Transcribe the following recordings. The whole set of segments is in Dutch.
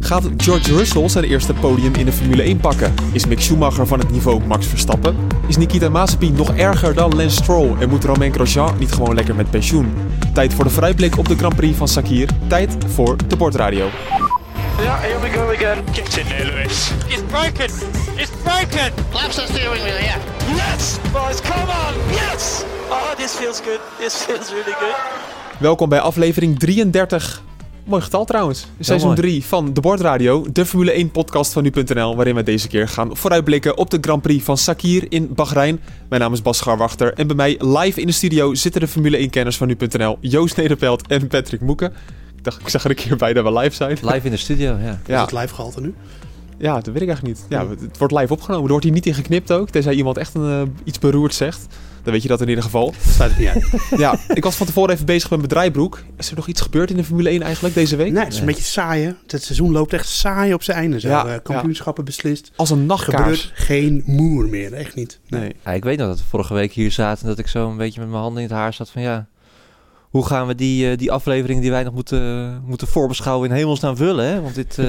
Gaat George Russell zijn eerste podium in de Formule 1 pakken? Is Mick Schumacher van het niveau Max Verstappen? Is Nikita Mazepin nog erger dan Lance Stroll en moet Romain Grosjean niet gewoon lekker met pensioen? Tijd voor de vrijblik op de Grand Prix van Sakir. Tijd voor de Bordradio. Yeah, here we go again. Get in there, Lewis. It's broken! It's broken! Laps are steering wheel, yeah. Yes, boys, come on, yes! Oh, this feels good. This feels really good. Welkom bij aflevering 33. Mooi getal trouwens. Seizoen mooi. 3 van De Bord Radio, de Formule 1 podcast van nu.nl, waarin we deze keer gaan vooruitblikken op de Grand Prix van Sakir in Bahrein. Mijn naam is Bas Scharwachter en bij mij live in de studio zitten de Formule 1 kenners van nu.nl, Joost Nederpelt en Patrick Moeken. Ik dacht, ik zag er een keer bij dat we live zijn. Live in de studio, ja. Ja, Is het live gehalte nu? ja, dat weet ik eigenlijk niet. Ja, het wordt live opgenomen. Er wordt hier niet in geknipt ook, tenzij iemand echt een, eh, iets beroerd zegt. Dan weet je dat in ieder geval. Staat het niet uit. Ja, ik was van tevoren even bezig met mijn draaibroek. Is er nog iets gebeurd in de Formule 1 eigenlijk deze week? Nee, het is een beetje saai. hè? Het seizoen loopt echt saai op zijn einde. Zo. Ja, Eh, kampioenschappen beslist. Als een Gebeurt nachtkaars. geen moer meer. Echt niet. Nee. Ja, Ik weet nog dat we vorige week hier zaten en dat ik zo een beetje met mijn handen in het haar zat van ja... Hoe gaan we die, eh, die aflevering die wij nog moeten, eh, moeten voorbeschouwen in hemelsnaam vullen? Hè? Want dit, eh,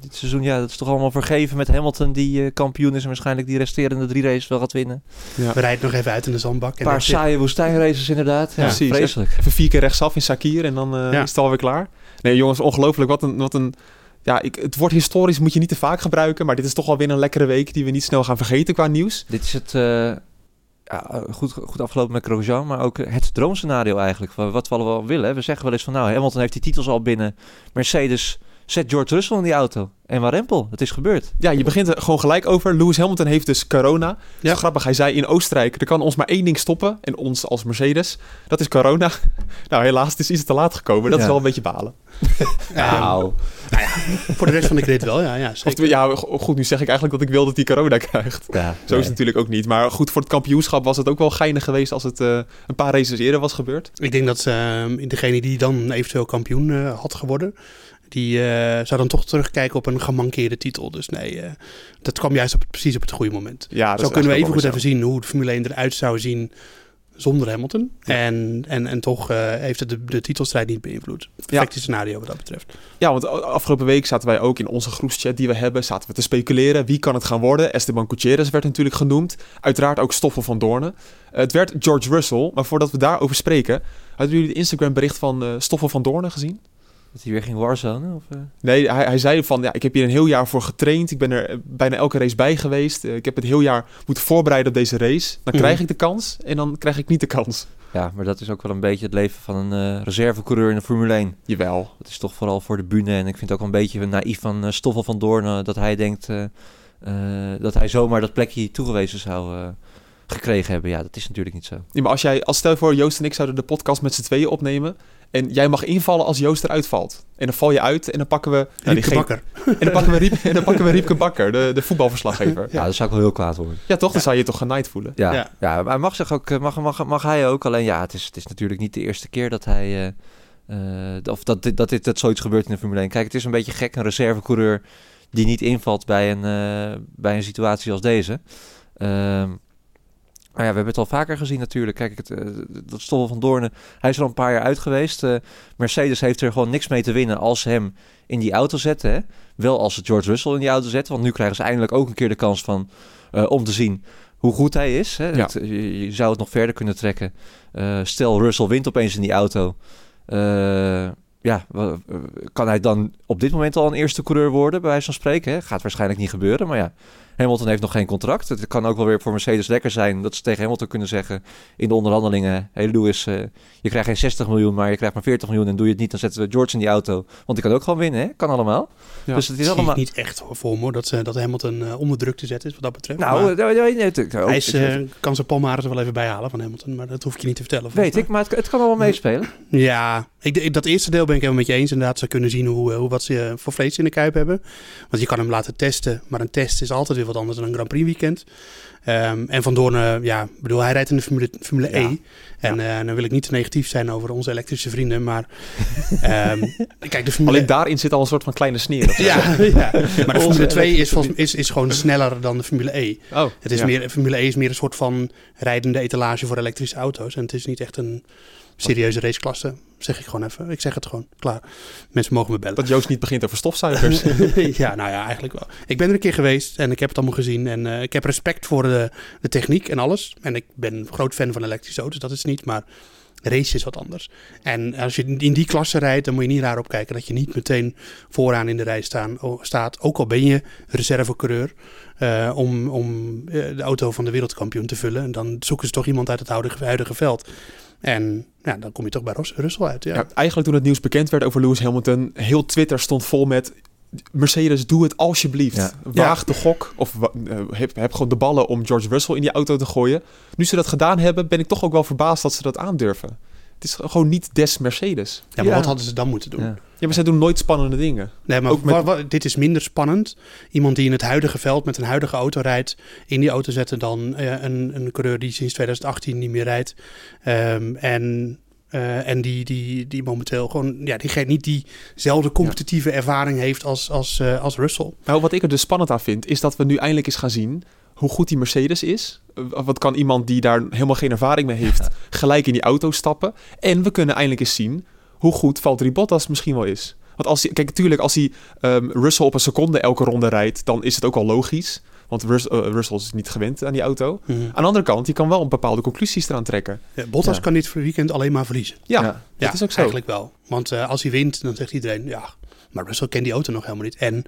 dit seizoen, ja, dat is toch allemaal vergeven met Hamilton die eh, kampioen is en waarschijnlijk die resterende drie races wel gaat winnen. We rijden nog even uit in de zandbak. En Een paar dat is het. saaie woestijnraces inderdaad. Ja, precies. vreselijk. Even vier keer rechtsaf in Sakir en dan eh, Ja. is het alweer klaar. Nee, jongens, ongelooflijk. Wat een... Wat een ja, ik, het woord historisch moet je niet te vaak gebruiken. Maar dit is toch alweer een lekkere week die we niet snel gaan vergeten qua nieuws. Dit is het... eh, ja, eh, goed, goed afgelopen met Grosjean, maar ook eh, het droomscenario eigenlijk. Van wat we allemaal willen. hè. We zeggen wel eens van nou, Hamilton heeft die titels al binnen. Mercedes zet George Russell in die auto. En waar rempel, het is gebeurd. Ja, je begint er gewoon gelijk over. Lewis Hamilton heeft dus corona. Dat is Ja. grappig. Hij zei in Oostenrijk, er kan ons maar één ding stoppen. En ons als Mercedes. Dat is corona. Nou, helaas, het is iets te laat gekomen. Dat is Ja. wel een beetje balen. Nou, Voor de rest van de grid wel, ja. ja Of, zeker. ja, go- goed, nu zeg ik eigenlijk dat ik wil dat hij corona krijgt. ja, Zo is het natuurlijk ook niet. Maar goed, voor het kampioenschap was het ook wel geinig geweest als het eh, een paar races eerder was gebeurd. Ik denk dat ehm, degene die dan eventueel kampioen eh, had geworden... die eh, zou dan toch terugkijken op een gemankeerde titel. Dus nee, eh, dat kwam juist op, het- precies op het goede moment. Ja, dat zo is kunnen we eigenlijk even goed wel even zien hoe de Formule 1 eruit zou zien zonder Hamilton. En, en, en toch eh, heeft het de, de titelstrijd niet beïnvloed. Perfecte scenario wat dat betreft. Ja, want a- afgelopen week zaten wij ook in onze groepschat die we hebben, zaten we te speculeren. Wie kan het gaan worden? Esteban Gutierrez werd natuurlijk genoemd. Uiteraard ook Stoffel van Doornen. Eh, Het werd George Russell, maar voordat we daarover spreken, hadden jullie het Instagram bericht van eh, Stoffel van Doornen gezien? Dat hij weer ging warzonen? Of, eh? Nee, hij, hij zei van, ja, ik heb hier een heel jaar voor getraind. Ik ben er eh, bijna elke race bij geweest. Eh, Ik heb het heel jaar moeten voorbereiden op deze race. Dan Mhm. krijg ik de kans en dan krijg ik niet de kans. Ja, maar dat is ook wel een beetje het leven van een eh, reservecoureur in de Formule 1. Jawel. Dat is toch vooral voor de bühne. En ik vind het ook wel een beetje naïef van eh, Stoffel van Doorn... eh, dat hij denkt eh, eh, dat hij zomaar dat plekje toegewezen zou eh, gekregen hebben. Ja, dat is natuurlijk niet zo. Ja, maar als jij, als stel je voor, Joost en ik zouden de podcast met z'n tweeën opnemen. En jij mag invallen als Joost eruit valt. En dan val je uit en dan pakken we. nou, Ja, diegene- Bakker. En dan pakken we, Riep, en dan pakken we Riepke Bakker, de, de voetbalverslaggever. Ja, dat zou ik wel heel kwaad worden. Ja, toch? Dan zou je je toch genaaid voelen. Ja, Ja. ja. maar hij mag, zich ook, eh, mag, mag, mag hij ook. Alleen ja, het is, het is natuurlijk niet de eerste keer dat hij. eh, eh, of dat, dit- dat, dit, dat zoiets gebeurt in de Formule 1. Kijk, het is een beetje gek, een reservecoureur die niet invalt bij een, eh, bij een situatie als deze. Ehm, maar ja, we hebben het al vaker gezien natuurlijk. Kijk, het, eh, dat Stoffel van Doornen, hij is er al een paar jaar uit geweest. Eh, Mercedes heeft er gewoon niks mee te winnen als ze hem in die auto zetten. Hè? Wel als ze George Russell in die auto zetten. Want nu krijgen ze eindelijk ook een keer de kans van, eh, om te zien hoe goed hij is. Hè? Ja. Het- je, je zou het nog verder kunnen trekken. Eh, stel, Russell wint opeens in die auto. Eh, ja, wa- eh, kan hij dan op dit moment al een eerste coureur worden, bij wijze van spreken? Hè? Gaat waarschijnlijk niet gebeuren, maar ja. Hamilton heeft nog geen contract. Het kan ook wel weer voor Mercedes lekker zijn dat ze tegen Hamilton kunnen zeggen in de onderhandelingen: Hey Lewis, eh, je krijgt geen 60 miljoen, maar je krijgt maar 40 miljoen. En doe je het niet, dan zetten we George in die auto. Want die kan ook gewoon winnen, hè? Kan allemaal. Ja. Dus het Het is is allemaal. niet echt voor me hoor, dat, ze, dat Hamilton eh, onder druk te zetten is wat dat betreft. Maar Nou, eh, nee, nee, nee, het- oh, hij is, het- eh, kan zijn palmares er wel even bijhalen van Hamilton, maar dat hoef ik je niet te vertellen. volgens Weet ik, maar het, het kan allemaal meespelen. mij. Ja, ik, denk- dat eerste deel ben ik helemaal met je eens. Inderdaad, ze kunnen zien hoe, eh, hoe, wat ze eh, voor vlees in de kuip hebben. Want je kan hem laten testen, maar een test is altijd weer weer wat anders dan een Grand Prix weekend. Ehm, en Van Doorn, eh, ja, ik bedoel, hij rijdt in de Formule, Formule Ja. E. En eh, dan wil ik niet te negatief zijn over onze elektrische vrienden, maar... ehm, kijk, de Formule Alleen daarin zit al een soort van kleine sneer. of zo. Ja, ja, maar de Onze Formule 2 is, elektrische volgens- is, is gewoon sneller dan de Formule E. Oh, Het is ja. meer, Formule E is meer een soort van rijdende etalage voor elektrische auto's. En het is niet echt een serieuze raceklasse. Zeg ik gewoon even. Ik zeg het gewoon. Klaar. Mensen mogen me bellen. Dat Joost niet begint over stofzuigers. ja, nou ja, eigenlijk wel. Ik ben er een keer geweest en ik heb het allemaal gezien. En eh, ik heb respect voor de, de techniek en alles. En ik ben een groot fan van elektrische auto's, dat is het niet. Maar race is wat anders. En als je in die klasse rijdt, dan moet je niet raar opkijken dat je niet meteen vooraan in de rij staan, o- staat. Ook al ben je reservecoureur. eh, om om eh, de auto van de wereldkampioen te vullen. En dan zoeken ze toch iemand uit het huidige, huidige veld. En ja, dan kom je toch bij Ros- Russell uit. Ja. Ja, eigenlijk toen het nieuws bekend werd over Lewis Hamilton, heel Twitter stond vol met... Mercedes, doe het alsjeblieft. Ja. Waag de gok. Of wa- eh, heb, heb gewoon de ballen om George Russell in die auto te gooien. Nu ze dat gedaan hebben, ben ik toch ook wel verbaasd dat ze dat aandurven. Het is gewoon niet des Mercedes. Ja, maar Ja. wat hadden ze dan moeten doen? Ja. Ja, maar zij doen nooit spannende dingen. Nee, maar Ook met- wa- wa- dit is minder spannend. Iemand die in het huidige veld met een huidige auto rijdt, in die auto zetten dan eh, een, een coureur die sinds 2018 niet meer rijdt. Ehm, en eh, en die, die, die momenteel gewoon, ja, die geen, niet diezelfde competitieve ervaring heeft als, als, eh, als Russell. Nou, wat ik er dus spannend aan vind, is dat we nu eindelijk eens gaan zien hoe goed die Mercedes is. Eh, Wat kan iemand die daar helemaal geen ervaring mee heeft, gelijk in die auto stappen. En we kunnen eindelijk eens zien hoe goed Valtteri Bottas misschien wel is. Want als hij, kijk, natuurlijk, als hij ehm, Russell op een seconde elke ronde rijdt, dan is het ook al logisch. Want Rus- eh, Russell is niet gewend aan die auto. Mhm. Aan de andere kant, je kan wel bepaalde conclusies eraan trekken. Eh, Bottas Ja. kan dit weekend alleen maar verliezen. Ja, Ja. dat is ook zo. Eigenlijk wel. Want eh, als hij wint, dan zegt iedereen, ja, maar Russell kent die auto nog helemaal niet. En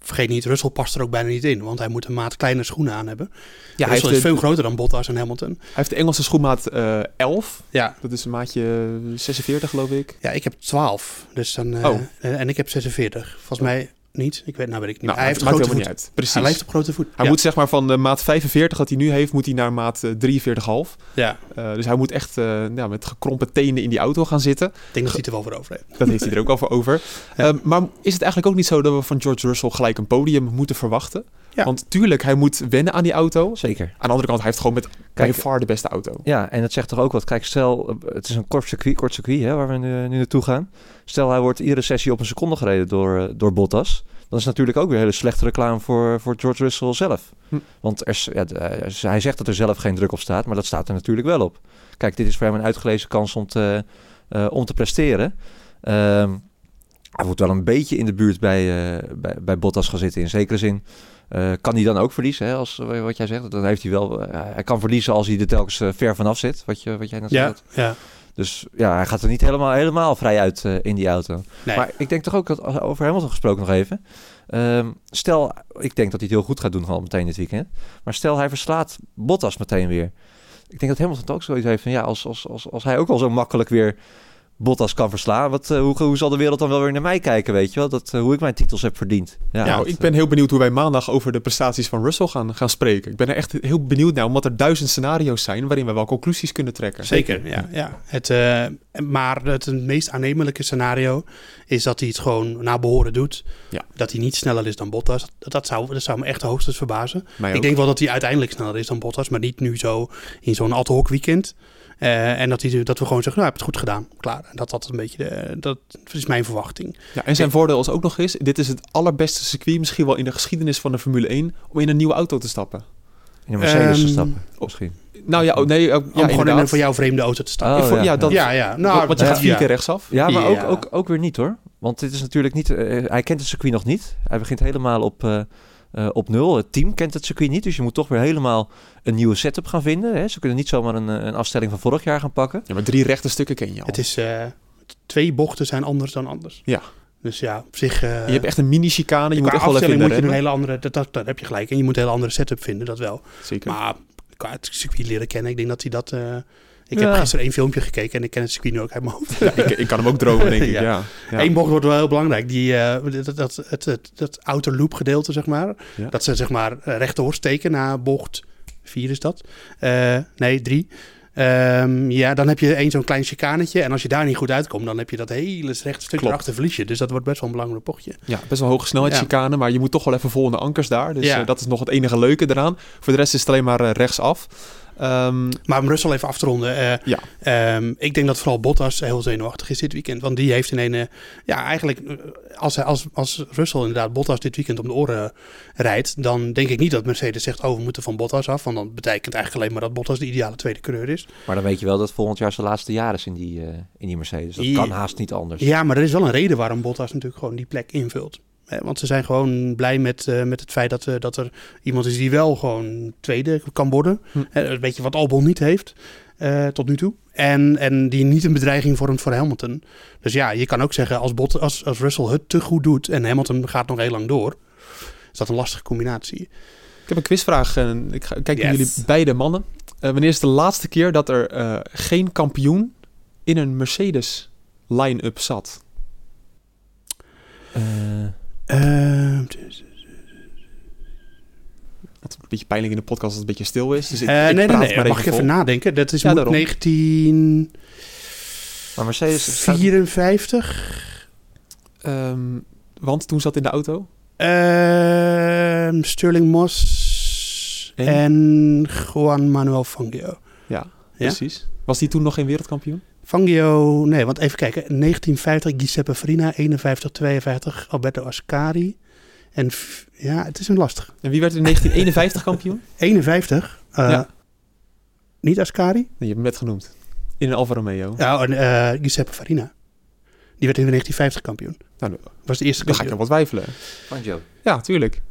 vergeet niet, Russell past er ook bijna niet in, want hij moet een maat kleine schoenen aan hebben. Ja, Ja, hij heeft, Russell is de, veel groter dan Bottas en Hamilton. hij heeft de Engelse schoenmaat eh 11. Ja, Dat is een maatje 46, geloof ik. Nou, Ja, ik heb 12. Dus dan, eh, Oh. eh, en ik heb 46. Volgens mij niet. Ik weet, nou weet ik niet. Nou, hij heeft maakt grote helemaal voet. niet uit. Precies. Hij lijkt op grote voet. Hij ja. moet zeg maar van de maat 45 dat hij nu heeft, moet hij naar maat eh, 43,5. ja, Eh, dus hij moet echt eh, nou, met gekrompen tenen in die auto gaan zitten. ik denk dat hij het er wel voor over heeft. Dat heeft hij er ook al voor over. Ja. Eh, maar is het eigenlijk ook niet zo dat we van George Russell gelijk een podium moeten verwachten? Ja. Want tuurlijk, hij moet wennen aan die auto. Zeker. Aan de andere kant, hij heeft gewoon met Kijk, by far de beste auto. Ja, en dat zegt toch ook wat. Kijk, stel, eh, het is een kort circuit, kort circuit hè, waar we nu, nu naartoe gaan. Stel, hij wordt iedere sessie op een seconde gereden door, eh, door Bottas. Dat is natuurlijk ook weer hele slechte reclame voor, voor George Russell zelf. Hm. Want er, is- ja, d- eh, z- hij zegt dat er zelf geen druk op staat, maar dat staat er natuurlijk wel op. Kijk, dit is voor hem een uitgelezen kans om te, eh, om te presteren. Ehm, hij wordt wel een beetje in de buurt bij, eh, bij, bij Bottas gaan zitten, in zekere zin. Eh, kan hij dan ook verliezen, hè, als, eh, wat jij zegt? Dan heeft hij wel. eh, hij kan verliezen als hij er telkens eh, ver vanaf zit, wat, je, wat jij net Ja, zei. ja. Dus ja, hij gaat er niet helemaal, helemaal vrij uit eh, in die auto. Nee. Maar ik denk toch ook dat als- over Hamilton gesproken nog even. Ehm, stel, ik denk dat hij het heel goed gaat doen gewoon meteen dit weekend. Maar stel, hij verslaat Bottas meteen weer. Ik denk dat Hamilton toch ook zoiets heeft van ja, als, als, als, als hij ook al zo makkelijk weer Bottas kan verslaan. Wat, eh, hoe, hoe zal de wereld dan wel weer naar mij kijken, weet je wel? Dat, eh, hoe ik mijn titels heb verdiend. Ja, nou, dat, ik ben eh, heel benieuwd hoe wij maandag over de prestaties van Russell gaan, gaan spreken. Ik ben er echt heel benieuwd naar, omdat er duizend scenario's zijn waarin we wel conclusies kunnen trekken. Zeker, ja. ja. Het, eh, maar het, meest aannemelijke scenario is dat hij het gewoon naar behoren doet. Ja. Dat hij niet sneller is dan Bottas. Dat, dat, zou, dat zou me echt hoogstens verbazen. Mij Ik ook. denk wel dat hij uiteindelijk sneller is dan Bottas, maar niet nu zo in zo'n ad hoc weekend. Eh, en dat, hij, dat we gewoon zeggen, nou, heb het goed gedaan, klaar. En dat, dat, een beetje de, dat is mijn verwachting. Ja, en zijn voordeel is ook nog eens, dit is het allerbeste circuit misschien wel in de geschiedenis van de Formule 1 om in een nieuwe auto te stappen. eh, in een Mercedes te Ehm, stappen, misschien. Nou ja, oh, nee, ook, ja, Om gewoon in inderdaad. een voor jou vreemde auto te staan. Oh, Ik vond- ja, ja. dat, ja, ja. want, Nou, want je ja. gaat vier ja. keer rechtsaf. Ja, maar Ja. Ook, ook, ook weer niet hoor. Want dit is natuurlijk niet. eh, hij kent het circuit nog niet. Hij begint helemaal op, eh, eh, op nul. Het team kent het circuit niet. Dus je moet toch weer helemaal een nieuwe setup gaan vinden. Hè? Ze kunnen niet zomaar een, eh, een afstelling van vorig jaar gaan pakken. Ja, maar drie rechte stukken ken je al. Het is, eh, t- twee bochten zijn anders dan anders. Ja. Dus ja, op zich... eh je hebt echt een mini-chicane, je qua moet echt wel even in afstelling de moet je een remmen. hele andere... Dat, dat, daar heb je gelijk. En je moet een hele andere setup vinden, dat wel. Zeker. Maar qua het circuit leren kennen, ik denk dat hij dat... eh, ik Ja. heb gisteren één filmpje gekeken en ik ken het circuit nu ook uit mijn hoofd. ik, ik kan hem ook dromen, denk ik. ja. Ja. Ja. Eén bocht wordt wel heel belangrijk. Die, eh, dat, dat, het, het, dat outer loop gedeelte, zeg maar. Ja. Dat ze zeg maar eh, rechtdoor steken na bocht 4 is dat. Eh, nee, 3. Ehm, ja, dan heb je één zo'n klein chicanetje. En als je daar niet goed uitkomt, dan heb je dat hele rechte stuk Klopt. erachter verlies je. Dus dat wordt best wel een belangrijk bochtje. Ja, best wel hoge snelheid Ja. chicane, maar je moet toch wel even vol in de ankers daar. Dus Ja. eh, dat is nog het enige leuke eraan. Voor de rest is het alleen maar eh, rechtsaf. Ehm, Maar om Russell even af te ronden. eh, Ja. ehm, ik denk dat vooral Bottas heel zenuwachtig is dit weekend. Want die heeft in een... eh, ja, eigenlijk eh, als, hij- als, als Russell inderdaad Bottas dit weekend om de oren rijdt... dan denk ik niet dat Mercedes zegt... oh, we moeten van Bottas af. Want dan betekent eigenlijk alleen maar dat Bottas de ideale tweede coureur is. Maar dan weet je wel dat volgend jaar zijn laatste jaar is in die, eh, in die Mercedes. Dat Ja. kan haast niet anders. Ja, maar er is wel een reden waarom Bottas natuurlijk gewoon die plek invult. Hè, want ze zijn gewoon blij met, eh, met het feit dat, eh, dat er iemand is die wel gewoon tweede kan worden. Hm. Hè, een beetje wat Albon niet heeft eh, tot nu toe. En, en die niet een bedreiging vormt voor Hamilton. Dus ja, je kan ook zeggen als, Bot, als, als Russell het te goed doet en Hamilton gaat nog heel lang door. Is dat een lastige combinatie. ik heb een quizvraag en ik ga, kijk naar Yes. jullie beide mannen. Eh, wanneer is de laatste keer dat er eh, geen kampioen in een Mercedes line-up zat? Eh, Eh, Ehm, Het is een beetje pijnlijk in de podcast dat het een beetje stil is. Dus ik, eh, ik nee, nee, praat nee. maar Mag ik even vol. nadenken? Dat is Ja, daarom. 1954. maar Mercedes... Ehm, want toen zat in de auto. Ehm, Sterling Moss En? en? Juan Manuel Fangio. Ja, Ja? precies. Was die toen nog geen wereldkampioen? Fangio, nee, want even kijken. 1950 Giuseppe Farina, 51, 52 Alberto Ascari. En f- ja, het is een lastig. En wie werd in 1951 kampioen? 51, eh, Ja. niet Ascari? Nee, je hebt hem net genoemd. In een Alfa Romeo. Ja, en, eh, Giuseppe Farina. Die werd in 1950 kampioen. Nou, dan- Was de eerste dan ga ik kampioen. nog wat twijfelen. Van Joe. Ja, tuurlijk.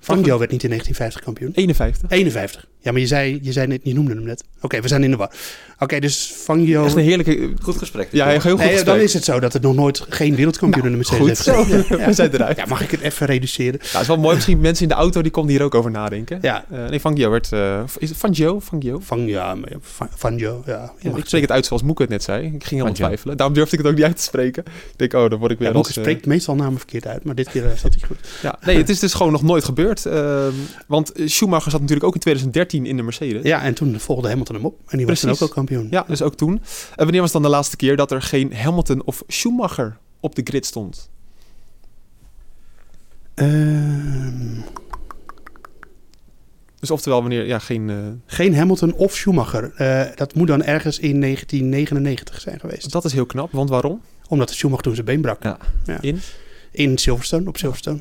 Fangio werd niet in 1950 kampioen. 51. 51. Ja, maar je zei, je zei net, je noemde hem net. Oké, we zijn in de war. Oké, dus Fangio... Echt een heerlijke... Goed gesprek. dit, Ja, heel jongens. goed Nee, gesprek. Nou, dan is het zo dat het nog nooit geen wereldkampioen in de Goed, Mercedes heeft gezeten. zo. Ja. We zijn eruit. Ja, mag ik het even reduceren? Ja, het is wel mooi. Misschien mensen in de auto die konden hier ook over nadenken. Ja, Eh, nee, Fangio werd... eh, is het Fangio? Fangio? van ja, maar ja, van, van Jo, ja. Je Ja, mag ik spreek het uit zoals Moeke het net zei. Ik ging helemaal Fangio. twijfelen. Daarom durfde ik het ook niet uit te spreken. Ik denk, oh, dan word ik weer... ja, Boeken als, eh, spreekt meestal namen verkeerd uit, maar dit keer eh, zat hij goed. ja. Nee, het is dus gewoon nog nooit gebeurd. Ehm, want eh, Schumacher zat natuurlijk ook in 2013 in de Mercedes. Ja, en toen volgde Hamilton hem op en die was toen ook Precies. al kampioen. Ja, dus ook toen. En wanneer was dan de laatste keer dat er geen Hamilton of Schumacher op de grid stond? Ehm, Dus oftewel wanneer, ja, geen... eh, geen Hamilton of Schumacher. Eh, dat moet dan ergens in 1999 zijn geweest. dat is heel knap, want waarom? Omdat Schumacher toen zijn been brak. Ja. In? In Silverstone, op Silverstone.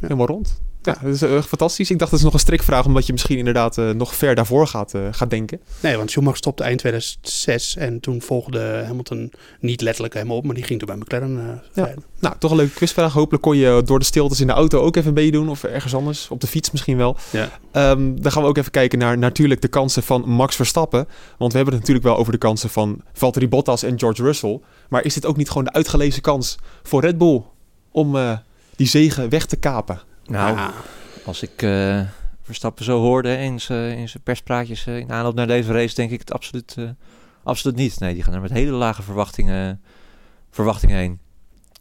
Helemaal rond. Ja, dat is eh, fantastisch. Ik dacht, dat is nog een strikvraag, omdat je misschien inderdaad eh, nog ver daarvoor gaat, eh, gaat denken. Nee, want Schumacher stopte eind 2006 en toen volgde Hamilton niet letterlijk helemaal op, maar die ging toen bij McLaren eh rijden. Nou, toch een leuke quizvraag. Hopelijk kon je door de stiltes in de auto ook even meedoen. Of ergens anders, op de fiets misschien wel. Ja. Ehm, dan gaan we ook even kijken naar natuurlijk de kansen van Max Verstappen. Want we hebben het natuurlijk wel over de kansen van Valtteri Bottas en George Russell. Maar is dit ook niet gewoon de uitgelezen kans voor Red Bull om eh, die zegen weg te kapen? Nou, Ah, Als ik eh, Verstappen zo hoorde in zijn in zijn perspraatjes eh, in aanloop naar deze race, denk ik het absoluut, eh, absoluut niet. Nee, die gaan er met hele lage verwachtingen, verwachtingen heen.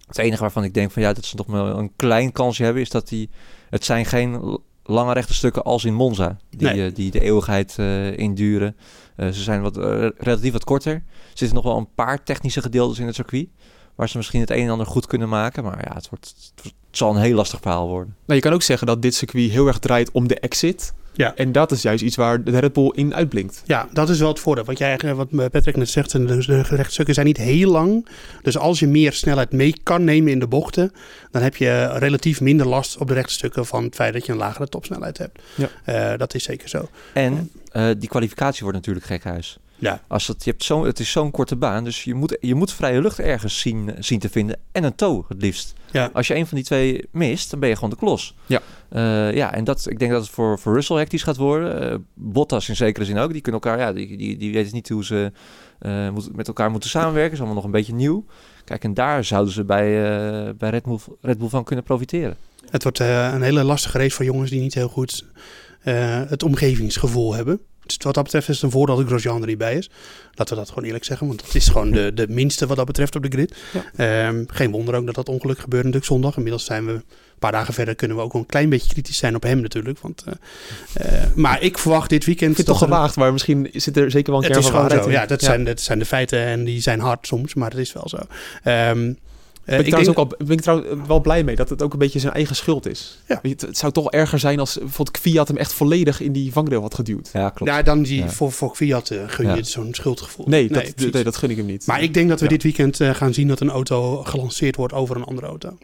Het enige waarvan ik denk van ja, dat ze nog wel een klein kansje hebben, is dat die, het zijn geen l- lange rechte stukken als in Monza, die, Nee. eh, die de eeuwigheid eh, induren. Eh, ze zijn wat, eh, relatief wat korter. Er zitten nog wel een paar technische gedeeltes in het circuit, waar ze misschien het een en ander goed kunnen maken. Maar ja, het, wordt, het wordt- het zal een heel lastig verhaal worden. Nou, je kan ook zeggen dat dit circuit heel erg draait om de exit. Ja. En dat is juist iets waar de Red Bull in uitblinkt. ja, dat is wel het voordeel. Wat, jij, eh, wat Patrick net zegt, en de de rechtstukken zijn niet heel lang. Dus als je meer snelheid mee kan nemen in de bochten, dan heb je eh, relatief minder last op de rechtstukken van het feit dat je een lagere topsnelheid hebt. Ja. Eh, dat is zeker zo. En eh, die kwalificatie wordt natuurlijk gekhuis. Ja. Als het, je hebt zo, het is zo'n korte baan, dus je moet, je moet vrije lucht ergens zien, zien te vinden. En een toe, het liefst. Ja. Als je een van die twee mist, dan ben je gewoon de klos. Ja. Eh, ja, en dat, ik denk dat het voor, voor Russell hectisch gaat worden. Eh, Bottas in zekere zin ook. Die kunnen elkaar, ja, die, die, die weten niet hoe ze eh, moet- met elkaar moeten samenwerken. is allemaal nog een beetje nieuw. Kijk, en daar zouden ze bij, eh, bij Red, Bull, Red Bull van kunnen profiteren. Het wordt eh, een hele lastige race voor jongens die niet heel goed eh, het omgevingsgevoel hebben. Dus wat dat betreft is het een voordeel dat Grosjean er niet bij is. Laten we dat gewoon eerlijk zeggen, want dat is gewoon de, de minste wat dat betreft op de grid. Ehm, geen wonder ook dat dat ongeluk gebeurde natuurlijk zondag. Inmiddels zijn we een paar dagen verder, kunnen we ook wel een klein beetje kritisch zijn op hem natuurlijk. Want, eh, eh, maar ik verwacht dit weekend... Ik vind het toch dat er- gewaagd, maar misschien zit er zeker wel een het kern is van gewoon waarheid zo. in. Ja, dat, Zijn, dat zijn de feiten en die zijn hard soms, maar dat is wel zo. Ehm, eh, Ben ik, ik trouwens denk- ook al, ben ik trouwens eh, wel blij mee dat het ook een beetje zijn eigen schuld is. Ja. Weet je, Het, het zou toch erger zijn als bijvoorbeeld Fiat hem echt volledig in die vangdeel had geduwd. Ja, klopt. Ja, dan die Ja. voor, voor Fiat eh, gun je Ja. zo'n schuldgevoel. Nee, dat, precies. nee, dat gun ik hem niet. Maar ik denk dat we Ja. dit weekend eh, gaan zien dat een auto gelanceerd wordt over een andere auto.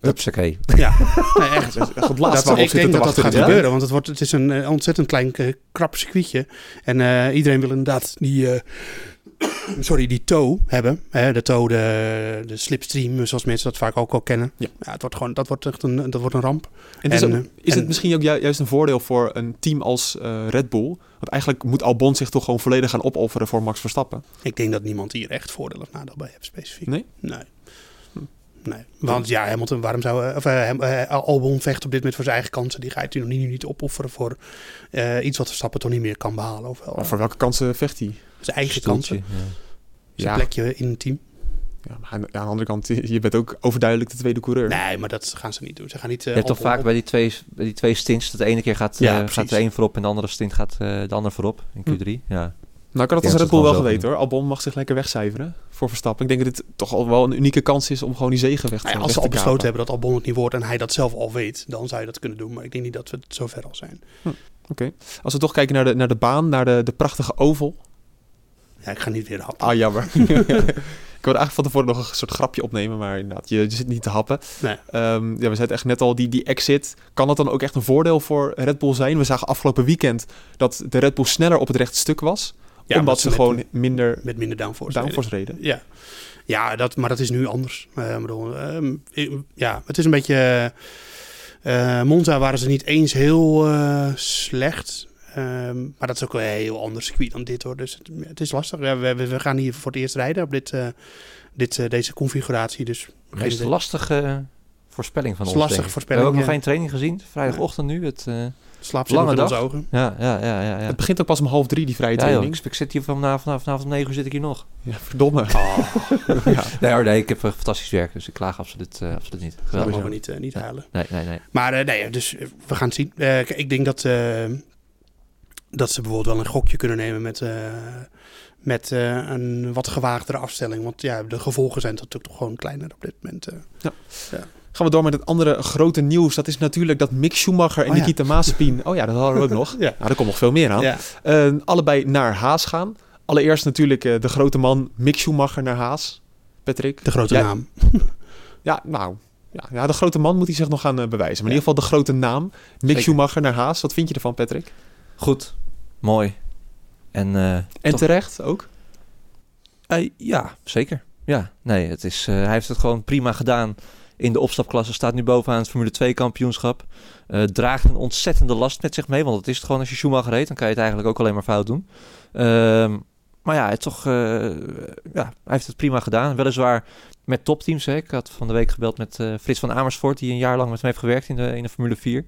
Hupsakee. Ja, nee, echt. dat is het Dat, laatste waarop ik zit denk dat dat gaat ja. gebeuren, want het, wordt, het is een eh, ontzettend klein, eh, krap circuitje. En eh, iedereen wil inderdaad die, eh, sorry, die toe hebben. Hè, de toe, de, de slipstream, zoals mensen dat vaak ook al kennen. Ja. het wordt gewoon, dat wordt echt een, dat wordt een ramp. En het is, En, ook- is en- het misschien ook ju- juist een voordeel voor een team als eh, Red Bull? Want eigenlijk moet Albon zich toch gewoon volledig gaan opofferen voor Max Verstappen. Ik denk dat niemand hier echt voordeel of nadeel bij heeft specifiek. Nee? Nee. Nee. Want ja, Hamilton, waarom zou... eh, Of, eh, Ham- eh, Albon vecht op dit moment voor zijn eigen kansen. Die gaat hij nu niet opofferen voor eh, iets wat Verstappen toch niet meer kan behalen. Of wel, Maar voor welke kansen vecht hij? zijn eigen Stoeltje, kansen. ja. Zijn Ja. plekje in het team. Ja, maar aan, aan de andere kant, je bent ook overduidelijk de tweede coureur. Nee, maar dat gaan ze niet doen. Ze gaan niet... eh, Je hebt toch vaak bij die, twee, bij die twee stints dat de ene keer gaat, Ja, eh, precies. Hm. gaat de een voorop en de andere stint gaat eh, de ander voorop in Q3. Ja. Nou, ik had het Ja, als Red dat Bull is wel gewoon zo. geweten hoor. Albon mag zich lekker wegcijferen voor Verstappen. Ik denk dat dit toch al wel een unieke kans is om gewoon die zegen weg te Nou weg ja, als ze te al besloten kapen. hebben dat Albon het niet wordt en hij dat zelf al weet, dan zou je dat kunnen doen. Maar ik denk niet dat we het zo ver al zijn. Als we toch kijken naar de, naar de baan, naar de, de prachtige oval. Ja, ik ga niet weer happen. Ah, jammer. ik wilde eigenlijk van tevoren nog een soort grapje opnemen, maar inderdaad, je, je zit niet te happen. Nee. Ehm, ja, we zeiden echt net al, die, die exit, kan dat dan ook echt een voordeel voor Red Bull zijn? We zagen afgelopen weekend dat de Red Bull sneller op het rechte stuk was, Ja, omdat ze met- gewoon minder Met minder downforce. downforce reden. Ja, ja dat, maar dat is nu anders. Eh, ik bedoel, ehm, ik- ja, het is een beetje... eh, Monza waren ze niet eens heel eh, slecht. Ehm, maar dat is ook een heel ander circuit dan dit hoor. Dus het, het is lastig. Ja, we, we- we gaan hier voor het eerst rijden op dit, eh, dit, eh, deze configuratie. Dus Het is een idee. lastige eh, voorspelling van Het ons. is lastige denk ik. voorspelling, We hebben ook ja. nog geen training gezien. Vrijdagochtend nu. Het, eh, slaap Lange in onze dag. ogen. ja, ja, ja, ja. ja. Het begint ook pas om half drie, die vrije Ja, joh, training. ik, ik zit hier vanavond, vanavond, vanavond om negen uur zit ik hier nog. Ja, verdomme. ja. Nee, hoor, nee, ik heb eh, fantastisch werk, dus ik klaag absoluut, eh, absoluut niet. Dat Geweldig. mogen we niet, eh, niet Ja. huilen. Nee, nee, nee. Maar eh, nee, dus eh, we gaan het zien. Eh, kijk, ik denk dat, eh, dat ze bijvoorbeeld wel een gokje kunnen nemen met, eh, met eh, een wat gewaagdere afstelling. Want ja, de gevolgen zijn natuurlijk toch gewoon kleiner op dit moment. eh. Gaan we door met het andere grote nieuws. Dat is natuurlijk dat Mick Schumacher en Oh ja. Nikita Mazepin... Oh ja, dat hadden we ook nog. Ja. Nou, er komt nog veel meer aan. Ja. Eh, allebei naar Haas gaan. Allereerst natuurlijk eh, de grote man Mick Schumacher naar Haas. Patrick? De grote Ja. naam. Ja, nou... Ja, ja, de grote man moet hij zich nog gaan eh, bewijzen. Maar in Ja. ieder geval de grote naam. Mick Zeker. Schumacher naar Haas. Wat vind je ervan, Patrick? Goed, mooi. En, eh, En toch- terecht ook? eh, ja, zeker. Ja, nee, het is, eh, hij heeft het gewoon prima gedaan in de opstapklasse. Staat nu bovenaan het Formule 2 kampioenschap. Eh, draagt een ontzettende last met zich mee, want dat is het gewoon als je Schumacher reed. Dan kan je het eigenlijk ook alleen maar fout doen. Ehm, maar ja, het toch, eh, ja, hij heeft het prima gedaan. Weliswaar met topteams. Hè. Ik had van de week gebeld met eh, Frits van Amersfoort, die een jaar lang met hem heeft gewerkt in de, in de Formule 4.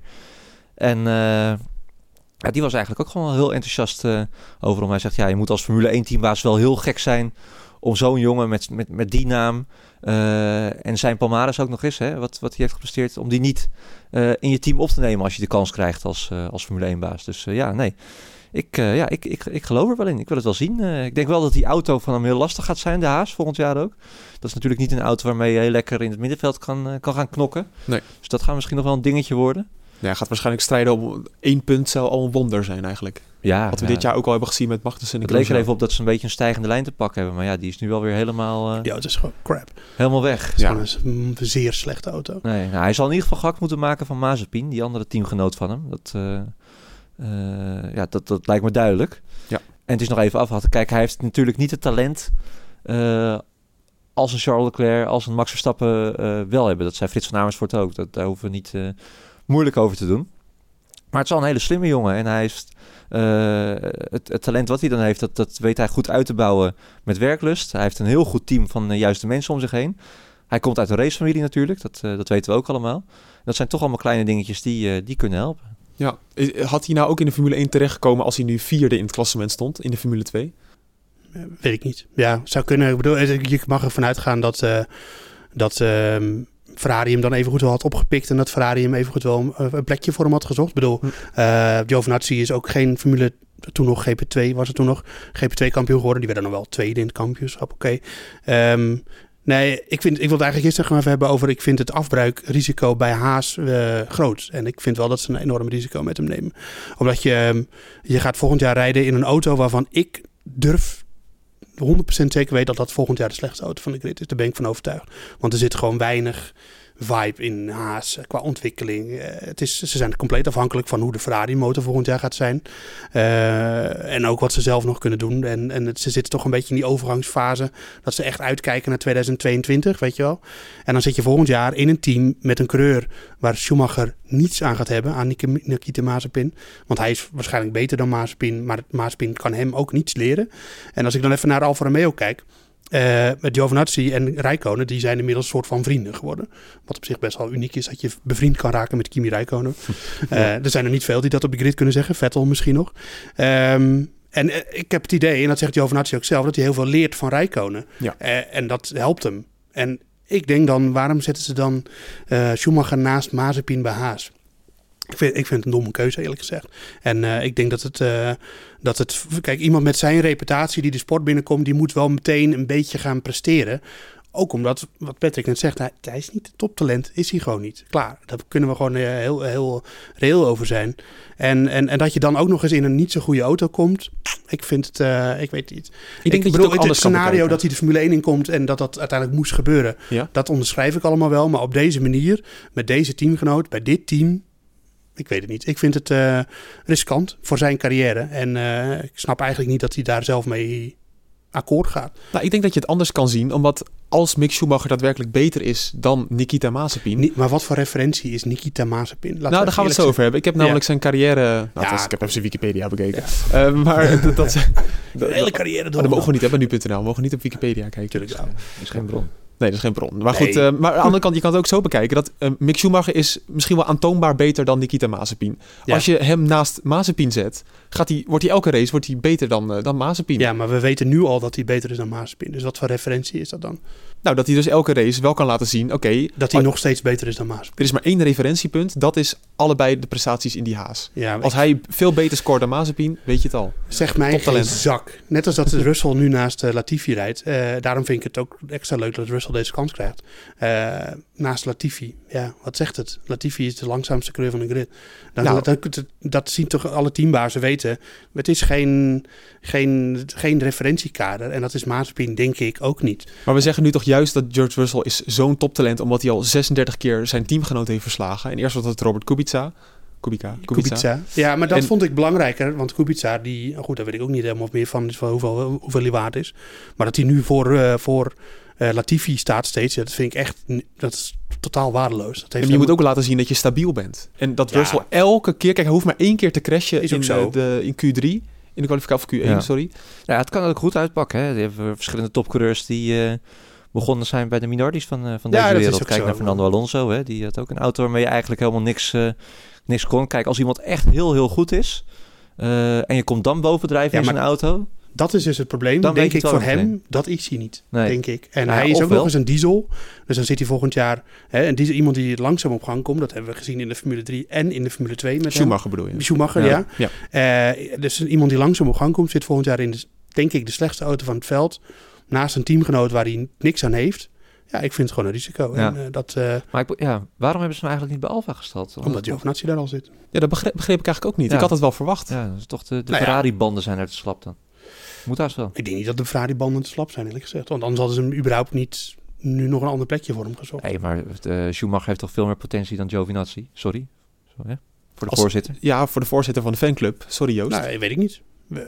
En eh, ja, die was eigenlijk ook gewoon heel enthousiast eh over hem. Hij zegt, ja, je moet als Formule 1 teambaas wel heel gek zijn om zo'n jongen met, met, met die naam eh, en zijn palmares ook nog eens, hè, wat, wat hij heeft gepresteerd, om die niet eh, in je team op te nemen als je de kans krijgt als, eh, als Formule 1-baas. Dus eh, ja, nee. Ik, eh, ja, ik, ik, ik geloof er wel in. Ik wil het wel zien. Eh, ik denk wel dat die auto van hem heel lastig gaat zijn, de Haas, volgend jaar ook. Dat is natuurlijk niet een auto waarmee je heel lekker in het middenveld kan, eh, kan gaan knokken. Nee. Dus dat gaat misschien nog wel een dingetje worden. Ja, hij gaat waarschijnlijk strijden om... één punt zou al een wonder zijn eigenlijk. Ja, Wat we ja. dit jaar ook al hebben gezien met Magnussen en Het leek er Grosjean. even op dat ze een beetje een stijgende lijn te pakken hebben. Maar ja, die is nu wel weer helemaal, eh, Ja, het is gewoon crap. Het helemaal weg. is Ja. gewoon een s- een zeer slechte auto. Nee, nou, hij zal in ieder geval gehakt moeten maken van Mazepin, die andere teamgenoot van hem. Dat, eh, eh, ja, dat, dat lijkt me duidelijk. Ja. En het is nog even afwachten. Kijk, hij heeft natuurlijk niet het talent eh, als een Charles Leclerc, als een Max Verstappen eh, wel hebben. Dat zei Frits van Amersfoort ook. Dat, daar hoeven we niet eh, moeilijk over te doen. Maar het is wel een hele slimme jongen. En hij heeft eh, het, het talent wat hij dan heeft, dat, dat weet hij goed uit te bouwen met werklust. Hij heeft een heel goed team van de juiste mensen om zich heen. Hij komt uit een racefamilie natuurlijk, dat, eh, dat weten we ook allemaal. En dat zijn toch allemaal kleine dingetjes die, eh, die kunnen helpen. Ja. Is- Had hij nou ook in de Formule 1 terechtgekomen als hij nu vierde in het klassement stond in de Formule 2? Eh, Weet ik niet. Ja, zou kunnen. Ik bedoel, eh, je mag ervan uitgaan dat, eh dat ehm, Ferrari hem dan even goed wel had opgepikt. En dat Ferrari hem even goed wel een- een plekje voor hem had gezocht. Ik bedoel, Hm. eh, Giovinazzi is ook geen Formule... Toen nog GP2 was het toen nog. GP2-kampioen geworden. Die werd dan nog wel tweede in het kampioenschap. Oké. Ehm, nee, ik, vind, ik wil het eigenlijk eerst nog maar even hebben over... Ik vind het afbruikrisico bij Haas eh, groot. En ik vind wel dat ze een enorm risico met hem nemen. Omdat je, ehm, je gaat volgend jaar rijden in een auto waarvan ik durf 100% zeker weet dat dat volgend jaar de slechtste auto van de grid is. Daar ben ik van overtuigd. Want er zit gewoon weinig vibe in Haas eh, qua ontwikkeling. Eh, het is, ze zijn compleet afhankelijk van hoe de Ferrari-motor volgend jaar gaat zijn. Eh, en ook wat ze zelf nog kunnen doen. En, en het- ze zitten toch een beetje in die overgangsfase dat ze echt uitkijken naar 2022, weet je wel. En dan zit je volgend jaar in een team met een coureur waar Schumacher niets aan gaat hebben, aan Nik- Nikita Mazepin. Want hij is waarschijnlijk beter dan Mazepin, maar Mazepin kan hem ook niets leren. En als ik dan even naar Alfa Romeo kijk. eh met Giovinazzi en Rijkonen, die zijn inmiddels een soort van vrienden geworden. Wat op zich best wel uniek is, dat je bevriend kan raken met Kimi Rijkonen. Eh, er zijn er niet veel die dat op de grid kunnen zeggen. Vettel misschien nog. Ehm, en eh, ik heb het idee, en dat zegt Giovinazzi ook zelf, dat hij heel veel leert van Rijkonen. Ja. Eh, en dat helpt hem. En ik denk dan, waarom zetten ze dan eh, Schumacher naast Mazepin bij Haas? Ik vind, ik vind het een domme keuze, eerlijk gezegd. En eh, ik denk dat het... eh, dat het, kijk, iemand met zijn reputatie die de sport binnenkomt, die moet wel meteen een beetje gaan presteren. Ook omdat, wat Patrick net zegt, hij, hij is niet het toptalent, is hij gewoon niet. Klaar, daar kunnen we gewoon eh, heel, heel reëel over zijn. En, en, en dat je dan ook nog eens in een niet zo goede auto komt, ik vind het, eh, ik weet niet. Ik denk dat je het ook het, anders kan scenario bekijken. dat hij de Formule 1 inkomt en dat dat uiteindelijk moest gebeuren, Ja. dat onderschrijf ik allemaal wel. Maar op deze manier, met deze teamgenoot, bij dit team, ik weet het niet. Ik vind het eh, riskant voor zijn carrière. En eh, ik snap eigenlijk niet dat hij daar zelf mee akkoord gaat. Nou, ik denk dat je het anders kan zien, omdat als Mick Schumacher daadwerkelijk beter is dan Nikita Mazepin... Niet, maar wat voor referentie is Nikita Mazepin? Laten nou, we daar gaan we eerlijk het zo over hebben. Ik heb namelijk zijn carrière... Nou, Ja. althans, ik heb even zijn Wikipedia bekeken. Eh, maar dat... dat, zijn. De hele carrière Maar door. Ah, dat Oh, mogen we niet hebben, nu.nl. We mogen niet op Wikipedia kijken. Dus, eh, Tuurlijk wel. is geen bron. Nee, dat is geen bron. Maar goed, Nee. eh, maar aan de andere kant, je kan het ook zo bekijken... dat eh, Mick Schumacher is misschien wel aantoonbaar beter dan Nikita Mazepin. Ja. Als je hem naast Mazepin zet, gaat hij, wordt hij elke race wordt hij beter dan, eh, dan Mazepin. Ja, maar we weten nu al dat hij beter is dan Mazepin. Dus wat voor referentie is dat dan? Nou, dat hij dus elke race wel kan laten zien... oké, Dat hij Oh. nog steeds beter is dan Mazepin. er is maar één referentiepunt. Dat is allebei de prestaties in die haas. Ja, maar Als hij veel beter scoort dan Mazepin, weet je het al. Zeg mij geen Toptalent. zak. Net als dat Russell nu naast eh, Latifi rijdt. Eh, daarom vind ik het ook extra leuk dat Russell deze kans krijgt. Eh, naast Latifi. Ja, wat zegt het? Latifi is de langzaamste coureur van de grid. Dan, Nou. dat, dat- dat zien toch alle teambazen weten. Het is geen, geen, geen referentiekader. En dat is Mazepin denk ik ook niet. Maar we zeggen nu toch juist dat George Russell is zo'n toptalent... omdat hij al 36 keer zijn teamgenoot heeft verslagen. En eerst was dat Robert Kubica. Kubica. Kubica. Kubica. Ja, maar dat En- vond ik belangrijker. Want Kubica, die... Goed, daar weet ik ook niet helemaal meer van, dus van hoeveel, hoeveel hij waard is. Maar dat hij nu voor, eh, voor eh, Latifi staat steeds, ja, dat vind ik echt... n- Dat is totaal waardeloos. Dat heeft En je moet ook laten zien dat je stabiel bent. En dat Ja. Russell elke keer... Kijk, hij hoeft maar één keer te crashen Is ook in, zo. eh, de, in Q3. In de kwalificatie voor Q1, Ja. sorry. Ja, het kan ook goed uitpakken. Hè. Die hebben verschillende topcoureurs die eh, begonnen zijn bij de minorities van, eh, Ja, van deze dat is wereld. ook Kijk zo. naar Fernando Alonso. Hè. Die had ook een auto waarmee je eigenlijk helemaal niks, eh, niks kon. Kijk, als iemand echt heel, heel goed is... eh, en je komt dan bovendrijven Ja, in maar- zijn auto... Dat is dus het probleem, Dan denk weet je ik, het voor wel hem. meteen. Dat is hij niet, Nee. denk ik. En Nou ja, hij is ook ofwel. nog eens een diesel. Dus dan zit hij volgend jaar... Hè, en diesel, iemand die langzaam op gang komt. Dat hebben we gezien in de Formule 3 en in de Formule 2 met hem. Schumacher bedoel je. Schumacher, ja. Ja. Eh, dus iemand die langzaam op gang komt, zit volgend jaar in, de, denk ik, de slechtste auto van het veld. Naast een teamgenoot waar hij niks aan heeft. Ja, ik vind het gewoon een risico. Ja. En, eh, dat, eh, Maar ik be- ja, waarom hebben ze hem eigenlijk niet bij Alfa gesteld? Want- omdat Giovinazzi daar al zit. Ja, dat begreep, begreep ik eigenlijk ook niet. Ja. Ik had het wel verwacht. Ja, dat is toch de, de Nou ja. Ferrari-banden zijn uit de slap dan. Moet haast wel. Ik denk niet dat de Ferrari-banden te slap zijn, eerlijk gezegd. Want anders hadden ze hem überhaupt niet nu nog een ander plekje voor hem gezocht. Nee, maar eh, Schumacher heeft toch veel meer potentie dan Giovinazzi? Sorry. Zo, hè? Voor de Als- voorzitter. Ja, voor de voorzitter van de fanclub. Sorry, Joost. Nou, weet ik niet. Eh,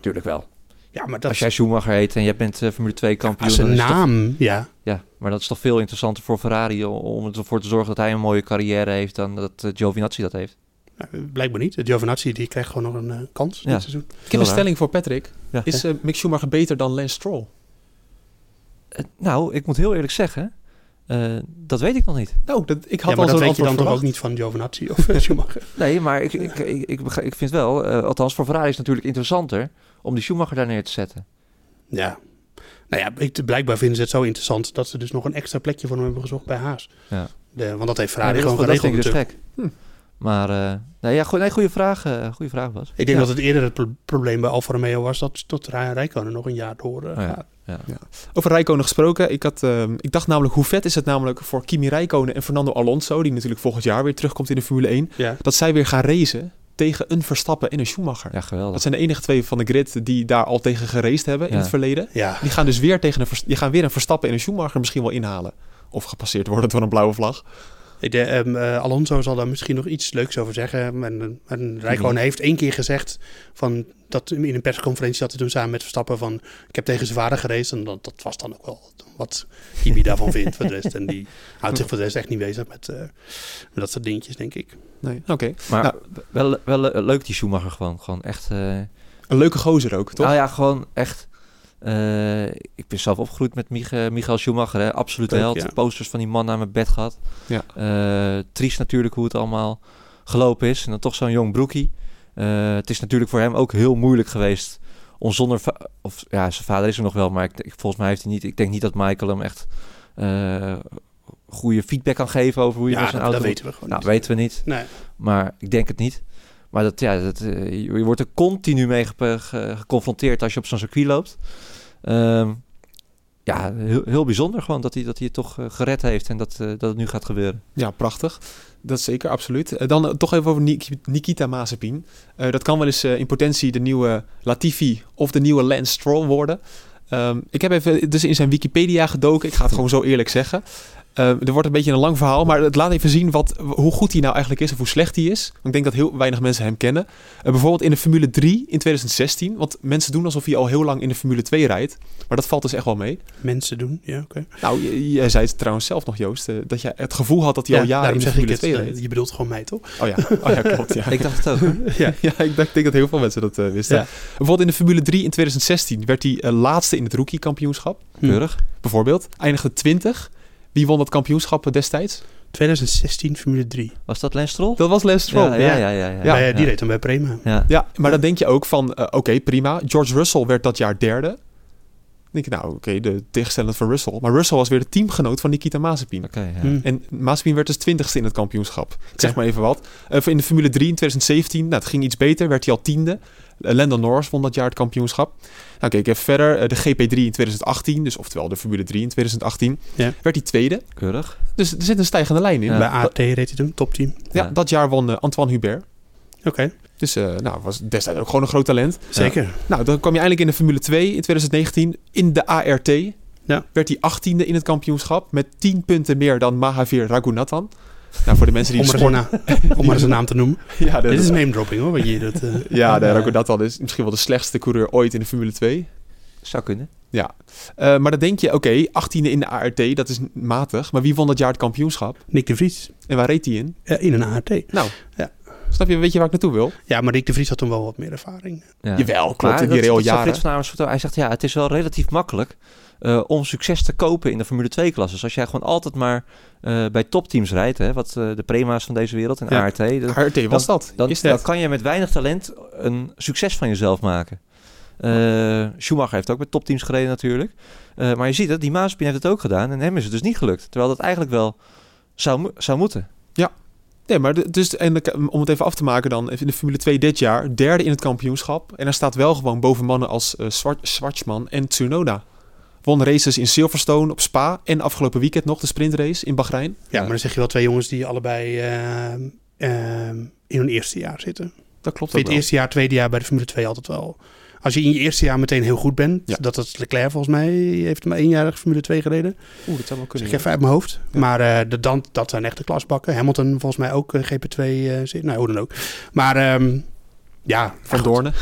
Tuurlijk wel. Ja, maar dat Als jij Schumacher heet en jij bent eh, Formule 2 kampioen... als een dan is het toch- naam, ja. Ja, maar dat is toch veel interessanter voor Ferrari om- om ervoor te zorgen dat hij een mooie carrière heeft dan dat eh, Giovinazzi dat heeft. Nou, Blijkbaar niet. Giovinazzi die krijgt gewoon nog een eh, kans Ja. dit seizoen. ik heb een raar. stelling voor Patrick. Ja. Is eh, Mick Schumacher beter dan Lance Stroll? Eh, nou, ik moet heel eerlijk zeggen, eh, Eh, dat weet ik nog niet. Nou, dat, ik had al Ja, maar zo'n dat weet je antwoord dan toch ook verwacht. niet van Giovinazzi of eh, Schumacher. Nee, maar ik, ik, ik, ik, begrijp- ik vind wel, eh, althans voor Ferrari is het natuurlijk interessanter om die Schumacher daar neer te zetten. Ja. Nou ja, ik- blijkbaar vinden ze het zo interessant dat ze dus nog een extra plekje voor hem hebben gezocht bij Haas. Ja. De, want dat heeft Ja, Ferrari dat- gewoon dat vind geregeld ik dus natuurlijk. Hm. gek. Maar, eh nee, ja, go- nee, goede vraag, eh goede vraag was. Ik denk dat het eerder het pro- probleem bij Alfa Romeo was dat tot Ryan Rijkonen nog een jaar door eh, Oh ja. gaat. Over Rijkonen gesproken. Ik, had, ehm, ik dacht namelijk, hoe vet is het namelijk voor Kimi Rijkonen en Fernando Alonso, die natuurlijk volgend jaar weer terugkomt in de Formule 1, Ja. dat zij weer gaan racen tegen een Verstappen en een Schumacher. Ja, geweldig. Dat zijn de enige twee van de grid die daar al tegen geraced hebben in Ja. het verleden. Ja. Die gaan dus weer, tegen een, Vers- die gaan weer een Verstappen en een Schumacher misschien wel inhalen. Of gepasseerd worden door een blauwe vlag. Ik denk, ehm, eh, Alonso zal daar misschien nog iets leuks over zeggen. En, eh, en Rijkonen Mhm. heeft één keer gezegd van dat in een persconferentie dat hij toen samen met Verstappen van ik heb tegen zijn vader gereden. En dat, dat was dan ook wel wat Kimi daarvan vindt voor de rest. En die houdt zich voor de rest echt niet bezig met, eh, met dat soort dingetjes, denk ik. Nee, oké. Maar Nou. wel, wel eh, leuk die Schumacher gewoon. Gewoon echt... eh, Een leuke gozer ook, toch? Nou ja, gewoon echt... eh, ik ben zelf opgegroeid met Mich- Michael Schumacher, hè, absolute Leuk, held. ja. Posters van die man naar mijn bed gehad. Ja. Eh, triest natuurlijk hoe het allemaal gelopen is. En dan toch zo'n jong broekie. Eh, het is natuurlijk voor hem ook heel moeilijk geweest om zonder... va- of ja, zijn vader is er nog wel, maar ik, ik- volgens mij heeft hij niet... Ik denk niet dat Michael hem echt eh, goede feedback kan geven over hoe je ja, met dat, zijn auto dat moet- weten we gewoon Nou, niet. weten we niet. Nee. Maar ik denk het niet. Maar dat, ja, dat, eh, je je wordt er continu mee gep- ge- geconfronteerd als je op zo'n circuit loopt. Ehm, ja, heel, heel bijzonder gewoon dat hij, dat hij het toch eh, gered heeft en dat, eh, dat het nu gaat gebeuren. Ja, prachtig. Dat zeker, absoluut. Eh, dan eh, toch even over Nik- Nikita Mazepin. Eh, dat kan wel eens eh, in potentie de nieuwe Latifi of de nieuwe Lance Stroll worden. Ehm, ik heb even dus in zijn Wikipedia gedoken. Ik ga het gewoon zo eerlijk zeggen. Ehm, er wordt een beetje een lang verhaal, maar het laat even zien wat, hoe goed hij nou eigenlijk is of hoe slecht hij is. Ik denk dat heel weinig mensen hem kennen. Eh, bijvoorbeeld in de Formule 3 in 2016. Want mensen doen alsof hij al heel lang in de Formule 2 rijdt. Maar dat valt dus echt wel mee. Mensen doen, ja, oké. Nou, j- jij zei het trouwens zelf nog, Joost. eh, dat je het gevoel had dat hij al jaren daarom in de zeg ik Formule het. 2 eh, reed. Je bedoelt gewoon mij, toch? Oh ja, oh ja klopt. Ja. Ik dacht het ook. ja, ja, ik denk, denk dat heel veel mensen dat eh, wisten. Ja. Bijvoorbeeld in de Formule 3 in 2016 werd hij eh, laatste in het rookie-kampioenschap. Keurig. Bijvoorbeeld, eindigde 20. Wie won dat kampioenschap eh, destijds? 2016 Formule 3. Was dat Lens Stroll? Dat was Lance Stroll. ja, ja, ja, ja, ja, Ja, ja. die reed hem bij Prema. Ja. Ja, maar dan denk je ook van, eh, oké, prima. George Russell werd dat jaar derde. Dan denk je, nou oké, de tegenstelling van Russell. Maar Russell was weer de teamgenoot van Nikita Mazepin. Oké, ja. Hm. En Mazepin werd dus twintigste in het kampioenschap. Ik zeg maar even wat. Eh, in de Formule 3 in 2017, nou, het ging iets beter, werd hij al tiende. Eh, Lando Norris won dat jaar het kampioenschap. Nou, keek ik even verder. Eh, de GP3 in 2018, dus oftewel de Formule 3 in 2018, Ja. werd hij tweede. Keurig. Dus er zit een stijgende lijn in. Ja. Bij Dat- AT reed hij toen, topteam. ja, Ja. dat jaar won eh, Antoine Hubert. Oké, Dus eh, nou, was destijds ook gewoon een groot talent. zeker. Nou, dan kwam je eindelijk in de Formule 2 in 2019 in de ART. Ja. Werd hij 18e in het kampioenschap met 10 punten meer dan Mahavir Raghunathan. Nou, voor de mensen die Om de maar, sport... zijn na- om maar zijn naam te noemen. Ja, dat Dit is name dropping hoor, wat je hier doet. eh. Oh, Ja, de Ja. Rakodatal is misschien wel de slechtste coureur ooit in de Formule 2. Zou kunnen. Eh, maar dan denk je, oké, 18e in de ART, dat is n- matig. Maar wie won dat jaar het kampioenschap? Nick de Vries En waar reed hij in? Nou, eh, in een ART. Snap je, weet je waar ik naartoe wil? Ja, maar Nick de Vries had toen wel wat meer ervaring. Ja. Jawel, Maar klopt, in dat- die real dat zei jaren. Frits van Amersfoort ook. hij zegt ja, het is wel relatief makkelijk eh, om succes te kopen in de Formule 2 klasse. Dus als jij gewoon altijd maar eh, bij topteams rijdt, hè, wat eh, de prema's van deze wereld en Ja. ART, dan, ART was dat. dan, is dan dat. kan je met weinig talent een succes van jezelf maken. Eh, Schumacher heeft ook met topteams gereden natuurlijk. Eh, maar je ziet het, die Maaspin heeft het ook gedaan en hem is het dus niet gelukt. Terwijl dat eigenlijk wel zou, mo- zou moeten. Nee, maar de- dus, en dan- om het even af te maken dan, in de Formule 2 dit jaar, derde in het kampioenschap. En hij staat wel gewoon boven mannen als eh, Swart, Schwartzman en Tsunoda. Won races in Silverstone, op Spa en afgelopen weekend nog de sprintrace in Bahrein. Ja, maar dan zeg je wel twee jongens die allebei ehm, ehm, in hun eerste jaar zitten. Dat klopt ook Vind je het wel. eerste jaar, tweede jaar bij de Formule 2 altijd wel. Als je in je eerste jaar meteen heel goed bent, Ja. dat is Leclerc volgens mij, heeft maar éénjarig Formule 2 gereden. Oeh, dat zou wel Zeg kunnen. ik even uit mijn hoofd. Maar eh, de, dan, dat zijn echte klasbakken. Hamilton volgens mij ook eh, GP2 eh, zit. Nou, hoe dan ook. Maar ehm, ja. Van goed. Doornen.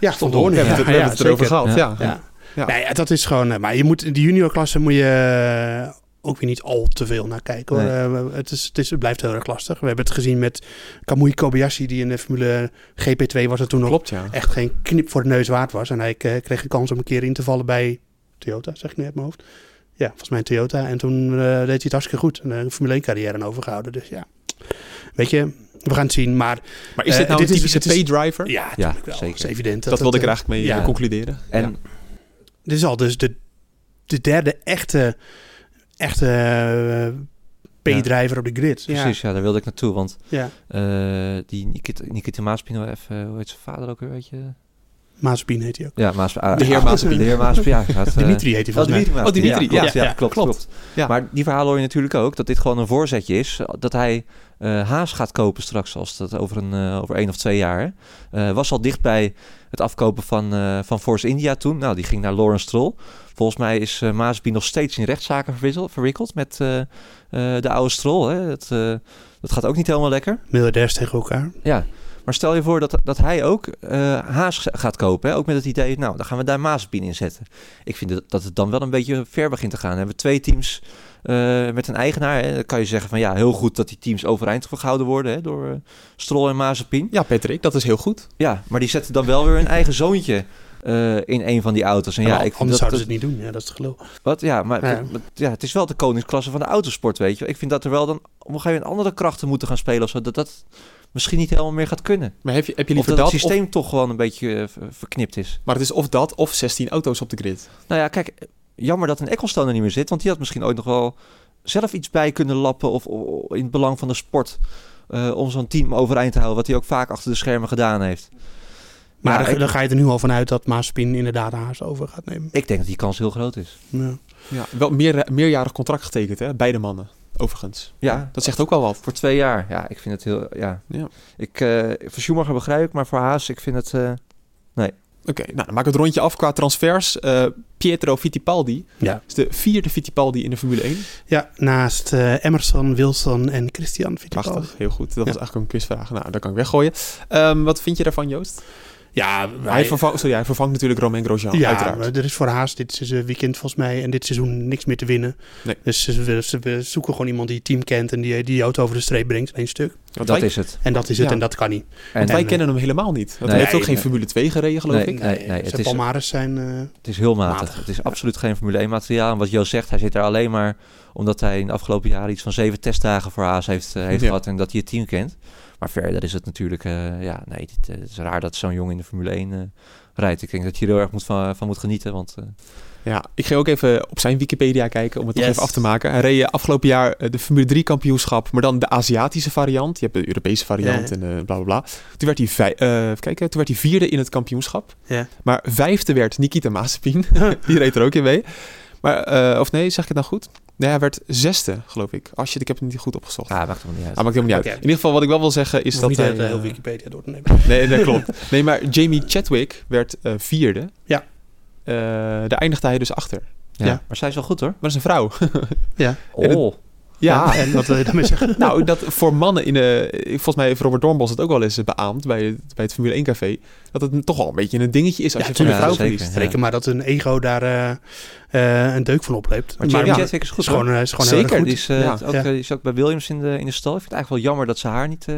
Ja, Van Doorn. We Ja, hebben het, we ja, hebben het erover zeker. gehad, Ja. ja. Ja. Ja. Nee, dat is gewoon. eh, Maar je moet in de juniorklasse moet je eh, ook weer niet al te veel naar kijken. Hoor. Eh, het, is, het, is, het blijft heel erg lastig. We hebben het gezien met Kamui Kobayashi, die in de Formule GP2 was er toen nog Klopt, ja. echt geen eh, knip voor de neus waard was. En hij eh, kreeg een kans om een keer in te vallen bij Toyota, zeg ik nu uit mijn hoofd. Ja, volgens mij een Toyota. En toen eh, deed hij het hartstikke goed. Een eh, Formule 1 carrière aan overgehouden. Dus ja, weet je, we gaan het zien. Maar Maar is Eh, dit nou dit een is- typische het is- P-driver? ja, Ja, natuurlijk wel. zeker. Dat is evident. dat wilde ik er het, eigenlijk mee ja. eh, concluderen. En eh, Dit is al dus de, de derde echte, echte eh, P-drijver op de grid. precies, ja, daar wilde ik naartoe. Want Ja, ja. eh, die Nikita, Nikita Maaspin, hoe even, hoe heet zijn vader ook weer, weet je? Maaspien heet hij ook. Ja, Maas, ah, De heer ah, Maaspin. De heer Maaspin, ja. Gaat, eh, Dimitri heet hij Oh, volgens mij. Dimitri. Maas. Oh, Dimitri, Ja, klopt. ja, Ja, ja, klopt, klopt. klopt. Ja. Maar die verhaal hoor je natuurlijk ook. Dat dit gewoon een voorzetje is. Dat hij eh, Haas gaat kopen straks. Als dat over, een, eh, over één of twee jaar. Eh, was al dicht bij het afkopen van, eh, van Force India toen. Nou, die ging naar Lawrence Stroll. Volgens mij is eh Maasby nog steeds in rechtszaken verwissel- verwikkeld. Met eh, eh, de oude Stroll. Hè. Dat, eh, dat gaat ook niet helemaal lekker. Miljardairs tegen elkaar. Ja, maar stel je voor dat, dat hij ook eh, Haas gaat kopen. Hè? Ook met het idee, nou, dan gaan we daar Maaspien in zetten. Ik vind dat, dat het dan wel een beetje ver begint te gaan. Dan hebben we twee teams eh, met een eigenaar. Hè? Dan kan je zeggen van ja, heel goed dat die teams overeind gehouden worden hè? door eh, Stroll en Mazepin. Ja, Patrick, dat is heel goed. Ja, maar die zetten dan wel weer hun eigen zoontje eh, in een van die auto's. En ja, Maar ik vind Oh, anders dat, zouden ze het niet doen. Ja, dat is het gelul. wat, ja, maar Ja. maar- ja. het is wel de koningsklasse van de autosport, weet je. wel. Ik vind dat er wel dan op een gegeven moment andere krachten moeten gaan spelen of zo. Dat dat misschien niet helemaal meer gaat kunnen Maar heb je, heb jullie of dat het verteld... of- systeem toch gewoon een beetje eh, ver- verknipt is. maar het is of dat of 16 auto's op de grid. Nou ja, kijk, eh, jammer dat een Ecclestone er niet meer zit, want die had misschien ooit nog wel zelf iets bij kunnen lappen of, o- in het belang van de sport eh, om zo'n team overeind te houden, wat hij ook vaak achter de schermen gedaan heeft. Maar Ja, dan, ik- dan ga je er nu al van uit dat Maaspien inderdaad haast over gaat nemen. Ik denk dat die kans heel groot is. Ja. Ja. Wel meer, eh, meerjarig contract getekend, hè? Beide mannen, overigens. Ja, Dat zegt ook wel wat. voor twee jaar. Ja, ik vind het heel. Ja. Ja. Ik, eh voor Schumacher begrijp ik, maar voor Haas, ik vind het. eh, Oké, nou, dan maak ik het rondje af qua transfers. Eh, Pietro Fittipaldi Ja. is de vierde Fittipaldi in de Formule 1. Ja, naast eh, Emerson, Wilson en Christian Fittipaldi. Prachtig, heel goed. Dat was Ja. eigenlijk ook een quizvraag. Nou, dat kan ik weggooien. Ehm, wat vind je daarvan, Joost? Ja, Hij, vervangt, sorry, hij vervangt natuurlijk Romain Grosjean, ja uiteraard. maar er is voor Haas dit is een weekend volgens mij en dit seizoen niks meer te winnen. Nee. Dus ze, ze- ze zoeken gewoon iemand die het team kent en die die die auto over de streep brengt in één stuk. Want dat wij, is het. En dat is het Ja. en dat kan niet. En wij en, eh, kennen hem helemaal niet. Want hij nee, heeft ook nee. geen Formule 2 gereden, geloof ik. Nee, nee, het zijn is- Eh, palmares zijn... eh, Het is heel matig. Matig. Het is absoluut geen Formule 1 materiaal. En wat Joost zegt, hij zit daar alleen maar omdat hij in de afgelopen jaren iets van zeven testdagen voor Haas heeft, eh, heeft Ja. gehad en dat hij het team kent. Maar verder is het natuurlijk, eh, ja, nee, dit, eh, het is raar dat zo'n jongen in de Formule 1 eh, rijdt. Ik denk dat je er heel erg moet van, van moet genieten, want eh, Ja, ik ging ook even op zijn Wikipedia kijken om het nog Yes. even af te maken. Hij reed eh, afgelopen jaar eh, de Formule 3 kampioenschap, maar dan de Aziatische variant. Je hebt de Europese variant Ja. en eh, bla bla bla. Toen werd, hij vij- eh, even kijken, toen werd hij vierde in het kampioenschap. Ja. Maar vijfde werd Nikita Mazepin. Die reed er ook in mee. Maar, eh, of nee, zeg ik het nou goed? Nee, hij werd zesde, geloof ik. Als je, ik heb het niet goed opgezocht. ah, maakt het niet uit. Ah, maakt helemaal niet uit. Oké. In ieder geval, wat ik wel wil zeggen is hoef dat niet hij... de hele eh, Wikipedia door te nemen. Nee, dat klopt. Nee, maar Jamie Chadwick werd eh, vierde. Ja. Eh, daar eindigde hij dus achter. ja. ja. Maar zij is wel goed hoor. Maar dat is een vrouw. En Oh, Ja, en wat wil je daarmee zeggen? nou, dat voor mannen in de... Volgens mij heeft Robert Dornbos het ook wel eens beaamd bij het, bij het Formule 1 café. Dat het toch wel een beetje een dingetje is als Ja, je van een ja, vrouw zeker. verliest. Reken maar dat een ego daar eh, eh, een deuk van opleept. maar Jamie ja, Chadwick het is goed is gewoon, hoor. eh, is gewoon Zeker, heel erg Die goed. is, eh, Ja. ook, Ja. eh, die is ook bij Williams in de, in de stal. Ik vind het eigenlijk wel jammer dat ze haar niet eh,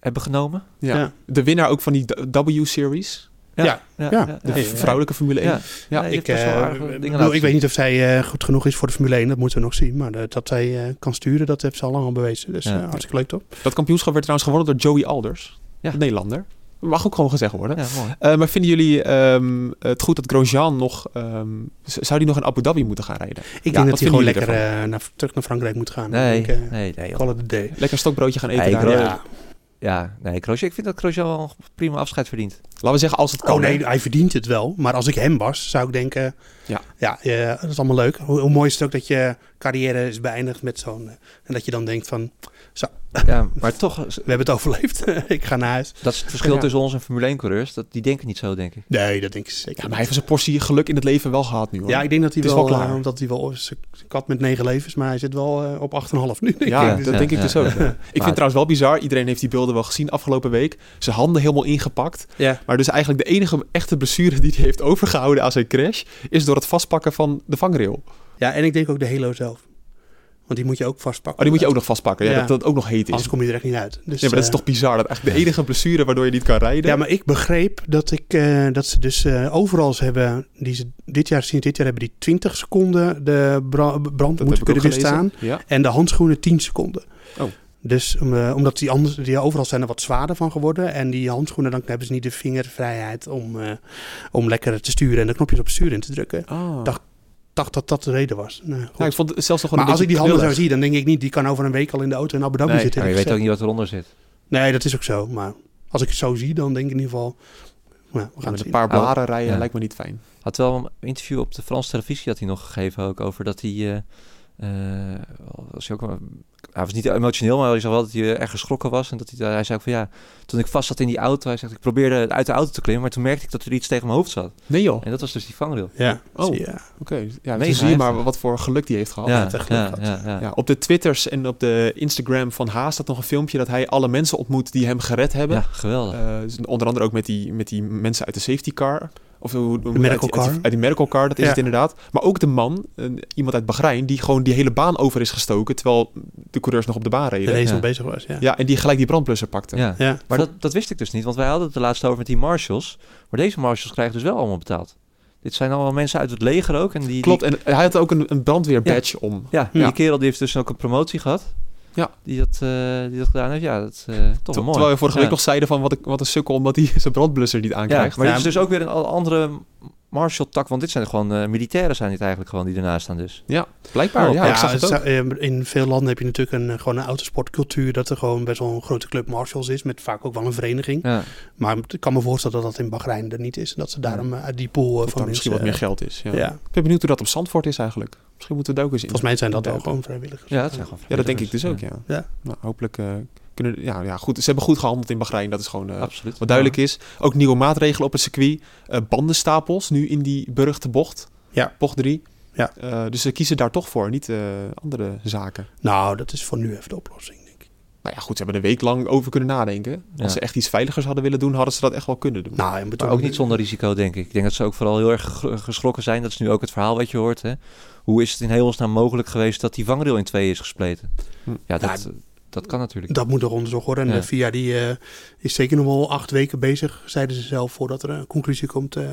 hebben genomen. Ja. Ja. De winnaar ook van die W-series. Ja. Ja. De Ja, ja, ja. vrouwelijke Formule 1. Ja. Ja, Nee, die Ik, heeft best wel eh, aardige dingen bedoel, laten ik zien. weet niet of zij eh, goed genoeg is voor de Formule 1. Dat moeten we nog zien. Maar dat, dat zij eh, kan sturen, dat heeft ze al lang al bewezen. Dus Ja. eh, hartstikke leuk, toch? Dat kampioenschap werd trouwens gewonnen door Joey Alders. Ja. Een Nederlander. Mag ook gewoon gezegd worden. Ja, mooi. Eh, maar vinden jullie ehm, het goed dat Grosjean nog... ehm, z- zou die nog in Abu Dhabi moeten gaan rijden? Ik wat denk dat hij vinden gewoon jullie lekker eh, naar, terug naar Frankrijk moet gaan. Nee, Ik denk, eh, nee, nee. joh. Call it a day. Lekker een stokbroodje gaan eten Hey, daar. Gro- Ja. Ja. Ja, nee, Kroosje, ik vind dat Kroosje wel een prima afscheid verdient. Laten we zeggen als het kan. Oh hè. nee, hij verdient het wel. Maar als ik hem was, zou ik denken... Ja. Ja, eh, dat is allemaal leuk. Hoe, hoe mooi is het ook dat je carrière is beëindigd met zo'n... eh, en dat je dan denkt van, Ja, maar toch, s- we hebben het overleefd. ik ga naar huis. dat is het verschil Ja. tussen ons en Formule 1 coureurs. Dat, die denken niet zo, denk ik. Nee, dat denk ik zeker Ja, maar hij heeft zijn portie geluk in het leven wel gehad nu. Hoor. Ja, ik denk dat hij Het is wel, wel eh, klaar. omdat hij wel zijn kat met negen levens, maar hij zit wel eh, op 8,5 nu. denk Ja, ik. Ja, dat ja, denk ik ja, dus ook. ja. Ik vind het trouwens wel bizar. Iedereen heeft die beelden wel gezien afgelopen week. Zijn handen helemaal ingepakt. Ja. Maar dus eigenlijk de enige echte blessure die hij heeft overgehouden aan zijn crash... is door het vastpakken van de vangrail. Ja, en ik denk ook de Halo zelf. Want die moet je ook vastpakken. Oh, die moet je ook nog vastpakken. Ja, Ja. Dat, dat ook nog heet is. Anders kom je er echt niet uit. Dus, Ja, maar dat is eh, toch bizar. Dat eigenlijk de enige blessure waardoor je niet kan rijden. Ja, maar ik begreep dat, ik, eh, dat ze dus eh, overal ze hebben, die ze dit jaar, sinds dit jaar hebben die 20 seconden de bra- brand dat moeten heb ik kunnen ook gelezen. weerstaan. Ja. En de handschoenen 10 seconden. Oh. Dus om, eh, omdat die, anders, die overal zijn er wat zwaarder van geworden. En die handschoenen, dan hebben ze niet de vingervrijheid om, eh, om lekker te sturen en de knopjes op sturen in te drukken. Ik Ah. Dacht- dacht dat dat de reden was. Nou, goed. Ja, ik vond het zelfs nog gewoon Nou, maar als ik een die beetje handen zou knullig. zien, dan denk ik niet, die kan over een week al in de auto in Abu Dhabi Nee, zitten. Maar je heb ik weet ook gezegd. niet wat eronder zit. Nee, dat is ook zo. Maar als ik het zo zie, dan denk ik in ieder geval, nou, we Ja, gaan het met zien. een paar zien. blaren rijden Ja. lijkt me niet fijn. Had wel een interview op de Franse televisie had hij nog gegeven ook over dat hij. eh, eh, was hij, ook, wel- hij was niet emotioneel, maar hij zag wel dat hij eh, erg geschrokken was. En dat hij, daar- hij zei ook van ja, toen ik vast zat in die auto, hij zegt ik probeerde uit de auto te klimmen, maar toen merkte ik dat er iets tegen mijn hoofd zat. Nee joh. Oké. En dat was dus die vangrail. Ja. Oh. Zie je. Ja, Mega dan zie je maar heftig. wat voor geluk die heeft gehad. ja, echt geluk ja, gehad. ja, ja. Ja, op de Twitters en op de Instagram van Haas staat nog een filmpje dat hij alle mensen ontmoet die hem gered hebben. Ja, geweldig. Eh, dus onder andere ook met die, met die mensen uit de safety car. Of hoe- hoe- uit medical die- uit, die- car. uit die medical car, dat is Ja. het inderdaad. Maar ook de man, een- iemand uit Bahrein, die gewoon die hele baan over is gestoken. Terwijl de coureurs nog op de baan De reden. race Ja. nog bezig was, ja. Ja, en die gelijk die brandblusser pakte. ja. Ja. Maar dat, dat wist ik dus niet, want wij hadden het de laatste over met die marshals. Maar deze marshals krijgen dus wel allemaal betaald. Dit zijn allemaal mensen uit het leger ook. En die, die- Klopt, en hij had ook een, een brandweerbadge om. ja, Oh, Ja. die kerel die heeft dus ook een promotie gehad. Ja. Die dat, eh, die dat gedaan heeft. Ja, dat eh toch Ter- wel mooi. Terwijl we vorige week Ja. nog zeiden van wat, een- wat een sukkel omdat hij zijn brandblusser niet Ja, aankrijgt. maar dit Ja, is dus ook weer een al- andere marshal-tak. Want dit zijn gewoon eh, militairen zijn dit eigenlijk gewoon die ernaast staan dus. Blijkbaar, ja, Oh, Ja, ik zag het het ook. zou- eh, in veel landen heb je natuurlijk een, eh, gewoon een autosportcultuur... dat er gewoon best wel een grote club marshals is... met vaak ook wel een vereniging. Ja. Maar ik kan me voorstellen dat dat in Bahrein er niet is. En dat ze daarom eh, uit die pool eh, Dat van daar misschien wat mensen, meer geld is. Ja. eh, ja. Ik ben benieuwd hoe dat op Zandvoort is eigenlijk. Misschien moeten we daar ook eens in. Volgens mij zijn dat wel Duiken. gewoon vrijwilligers. ja, dat zijn gewoon Ja, dat denk ik vrijwilligers. dus ook, ja. Ja. Nou, hopelijk eh, kunnen... Ja, ja, goed. Ze hebben goed gehandeld in Bahrein. Dat is gewoon eh, Absoluut. wat duidelijk is. Ook nieuwe maatregelen op het circuit. Eh, bandenstapels nu in die beruchte bocht. Ja. Bocht 3. Ja. Eh, dus ze kiezen daar toch voor, niet eh, andere zaken. Nou, dat is voor nu even de oplossing, denk ik. Nou ja, goed. Ze hebben er een week lang over kunnen nadenken. Ja. Als ze echt iets veiligers hadden willen doen, hadden ze dat echt wel kunnen doen. Nou, je moet Maar ook niet zonder risico, denk ik. Ik denk dat ze ook vooral heel erg ge- geschrokken zijn. Dat is nu ook het verhaal wat je hoort. Hè? Hoe is het in hemelsnaam mogelijk geweest dat die vangrail in twee is gespleten? Hm. Ja, dat, dat kan natuurlijk. Dat moet er onderzocht worden. En Ja. de VIA die, eh, is zeker nog wel acht weken bezig, zeiden ze zelf, voordat er een conclusie komt. eh,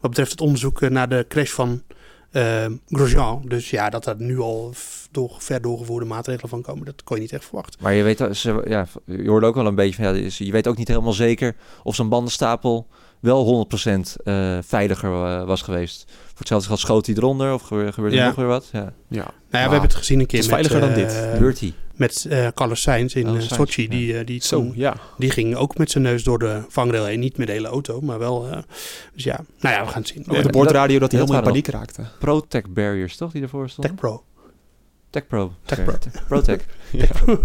wat betreft het onderzoek eh, naar de crash van eh, Grosjean. Dus ja, dat daar nu al f- door, ver doorgevoerde maatregelen van komen, dat kon je niet echt verwachten. Maar je weet, dat ze, ja, je hoorde ook wel een beetje van, ja, er is- je weet ook niet helemaal zeker of zo'n bandenstapel wel 100% eh, veiliger eh, was geweest. Voor hetzelfde geld schoot hij eronder of gebe- gebeurde Ja. er nog weer wat. Ja. Ja. Nou ja, Maar we hebben het gezien een keer het is met, veiliger dan eh, dit. Beurtie. met eh, Carlos Sainz in Carlos eh, Sainz, Sochi. ja. Die, eh, die, Zo, toen- ja. die ging ook met zijn neus door de vangrail heen. Niet met de hele auto, maar wel. eh, dus ja, nou ja, we gaan het zien. Ook Ja, op Oh, de dat- bordradio dat hij dat helemaal in waren paniek raakte. Pro-tech barriers, toch? Die ervoor Tech stonden? Pro. Tech Pro. Tech Pro. Pro-tech. Ja. Pro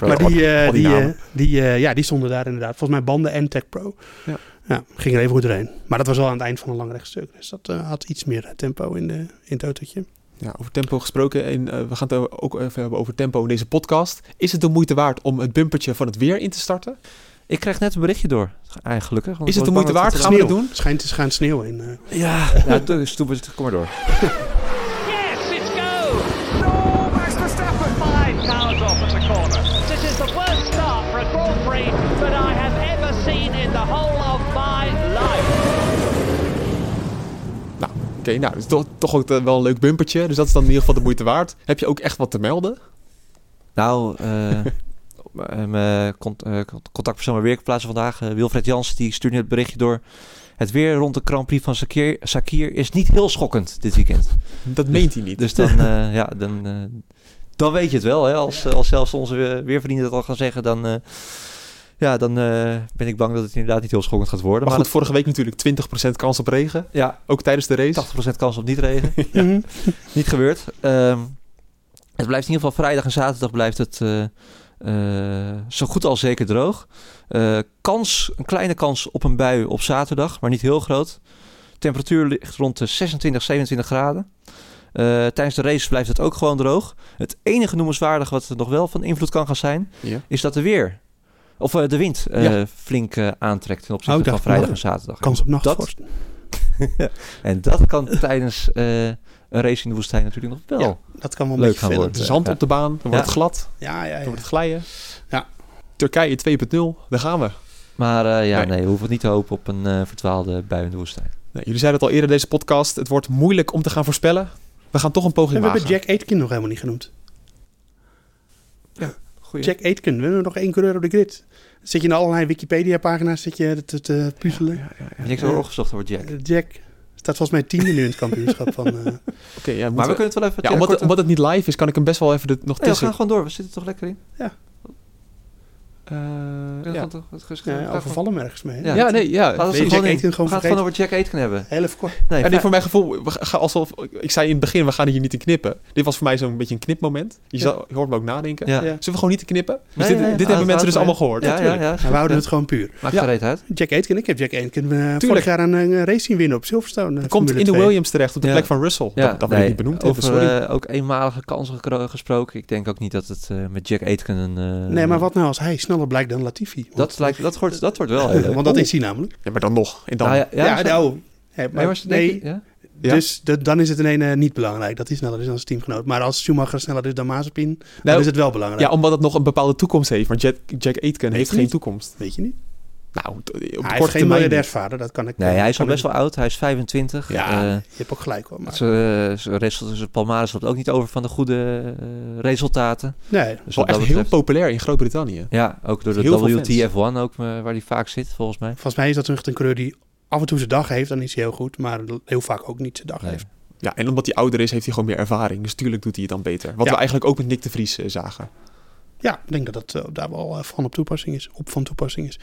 maar die, eh, al die die, namen. eh, die, eh, ja, die stonden daar inderdaad. Volgens mij banden en Tech Pro. Ja. ging er even goed doorheen. Maar dat was wel aan het eind van een lang rechtstuk. Dus dat eh, had iets meer tempo in, de, in het autootje. Ja, over tempo gesproken. En eh, we gaan het ook even hebben over tempo in deze podcast. Is het de moeite waard om het bumpertje van het weer in te starten? Ik krijg net een berichtje door, eigenlijk. want Is ik het de word moeite bang waard? dat Gaan we dat doen? Schijnt te gaan sneeuwen in. eh. Ja, ja dus, doe maar- kom maar door. Yes, it's go! No, Max Verstappen! Five cars off at the corner. This is the worst start for a Grand Prix that I have ever seen in the whole of my life. Nou, oké. nou, dat is toch, toch ook eh, wel een leuk bumpertje. Dus dat is dan in ieder geval de moeite waard. Heb je ook echt wat te melden? Nou, eh, eh, mijn cont- eh, contactpersoon bij Werkplaatsen vandaag, eh, Wilfred Jans, die stuurde net het berichtje door. Het weer rond de Grand Prix van Sakir, Sakir is niet heel schokkend dit weekend. Dat meent hij niet. Dus dan, eh, ja, dan, eh, dan weet je het wel. Hè? Als, eh, als zelfs onze eh, weervrienden dat al gaan zeggen, dan, eh, ja, dan eh, ben ik bang dat het inderdaad niet heel schokkend gaat worden. maar goed, het- vorige week natuurlijk 20% kans op regen. ja, Ook tijdens de race. 80% kans op niet regen. Mhm. Niet gebeurd. Ehm, het blijft in ieder geval vrijdag en zaterdag blijft het eh, eh, zo goed als zeker droog. Eh, kans, een kleine kans op een bui op zaterdag, maar niet heel groot. Temperatuur ligt rond de 26, 27 graden. Eh, tijdens de race blijft het ook gewoon droog. Het enige noemenswaardige wat er nog wel van invloed kan gaan zijn, Ja. is dat de weer. Of eh, de wind eh, Ja. flink eh, aantrekt ten Oh, opzichte ik van dacht, vrijdag mooi. en zaterdag. Kans op nachtvorst. En dat kan tijdens eh, een race in de woestijn natuurlijk nog wel. Ja. Dat kan wel een Leuk beetje gaan vervelend worden. Zand Ja. op de baan, dan wordt Ja. het glad, zijn. Ja, ja, dan ja. wordt het glijden. Ja. Turkije 2.0, daar gaan we. Maar eh, ja, Nee. nee. we hoeven niet te hopen op een eh, verdwaalde bui in de woestijn. Nou, jullie zeiden het al eerder in deze podcast, het wordt moeilijk om te gaan voorspellen. We gaan toch een En poging we maken. hebben Jack Aitken nog helemaal niet genoemd. Goeie. Jack Aitken, we hebben nog één coureur op de grid. Zit je in allerlei Wikipedia-pagina's zit je te, te puzzelen? Niks over opgezocht wordt Jack. Eh, Jack staat volgens mij tiende nu in het kampioenschap van... eh, Oké, ja, moeten Maar we we- kunnen het wel even... ja, ja, omdat, kort- omdat het niet live is, kan ik hem best wel even er nog Nee, we tussen. gaan gewoon door. We zitten er toch lekker in. Eh, We ja. gaan toch- het is- ja, ga gewoon- overvallen hem ergens mee. hè? Ja. ja, nee, ja. Laten we Weet het je, gewoon Jack in. Aitken gewoon We gaan het vergeten. gewoon over Jack Aitken hebben. Heel even kort. Nee, Ja, nee, fijn. voor mijn gevoel, we gaan alsof, ik zei in het begin, we gaan hier niet in knippen. Dit was voor mij zo'n beetje een knipmoment. Je, Ja. zal- je hoort me ook nadenken. Ja. Ja. Zullen we gewoon niet te knippen? Dus Nee, dit nee, dit nee, hebben mensen laten dus we- allemaal gehoord. Ja, ja, natuurlijk. ja. Maar we houden het gewoon puur. Maakt Ja. gereed uit. Jack Aitken, ik heb Jack Aitken eh, vorig Tuurlijk. jaar een, een race zien winnen op Silverstone. eh, Komt Formule in de 2. Williams terecht op de Ja. plek van Russell. dat dat nee, we niet benoemd over, hebben, sorry. eh, ook eenmalige kansen gekro- gesproken. Ik denk ook niet dat het eh, met Jack Aitken een... eh, Nee, maar wat nou als hij sneller blijkt dan Latifi? Want- Dat, lijkt, dat, wordt, dat wordt wel heel leuk. Want dat Oeh. is hij namelijk. ja, maar dan nog. En dan, Nou, ja, ja, Ja, zo- nou. hè, maar- Nee, maar ze nee, denken- ja? Ja. dus dat- dan is het in ene niet belangrijk dat hij sneller is dan zijn teamgenoot. Maar als Schumacher sneller is dan Mazepin, dan Nou, is het wel belangrijk. ja, omdat het nog een bepaalde toekomst heeft. Maar Jack, Jack Aitken heeft hij geen niet? toekomst. Weet je niet? Nou, t- op de hij is korte geen termijn. miljardairsvader, dat kan ik Nee, hij is kan al ik- best wel oud. Hij is 25. Ja, Eh, Je hebt ook gelijk hoor. Maar, Ze, ze restel- ze Palmares loopt ook niet over van de goede eh, resultaten. nee, Dus Wel echt wat dat heel betreft- populair in Groot-Brittannië. Ja, ook door de Heel veel fans. WTF1 ook, eh, waar hij vaak zit, volgens mij. volgens mij is dat echt een coureur die af en toe zijn dag heeft, dan is hij heel goed. Maar heel vaak ook niet zijn dag Nee. heeft. Ja, en omdat hij ouder is, heeft hij gewoon meer ervaring. Dus tuurlijk doet hij het dan beter. Wat Ja. we eigenlijk ook met Nick de Vries eh, zagen. Ja, ik denk dat dat eh, daar wel eh, van op toepassing is. Op van toepassing is.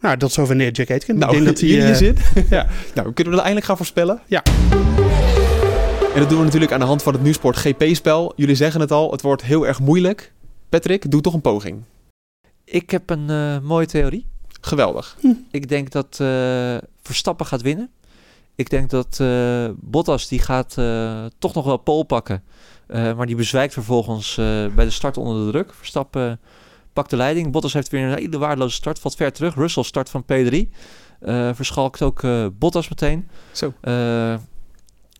Nou, tot zover neer Jack Aitken. Nou, ik denk dat hij... jullie eh, zin? ja. Nou, kunnen we dat eindelijk gaan voorspellen? Ja. En dat doen we natuurlijk aan de hand van het Nieuwsport GP-spel. Jullie zeggen het al, het wordt heel erg moeilijk. Patrick, doe toch een poging. Ik heb een eh, mooie theorie. Geweldig. Ik denk dat eh, Verstappen gaat winnen. Ik denk dat eh, Bottas die gaat eh, toch nog wel pole pakken. Eh, maar die bezwijkt vervolgens eh, bij de start onder de druk. Verstappen eh, pakt de leiding. Bottas heeft weer een hele waardeloze start. Valt ver terug. Russell start van P3. Eh, verschalkt ook eh, Bottas meteen. Zo. Eh,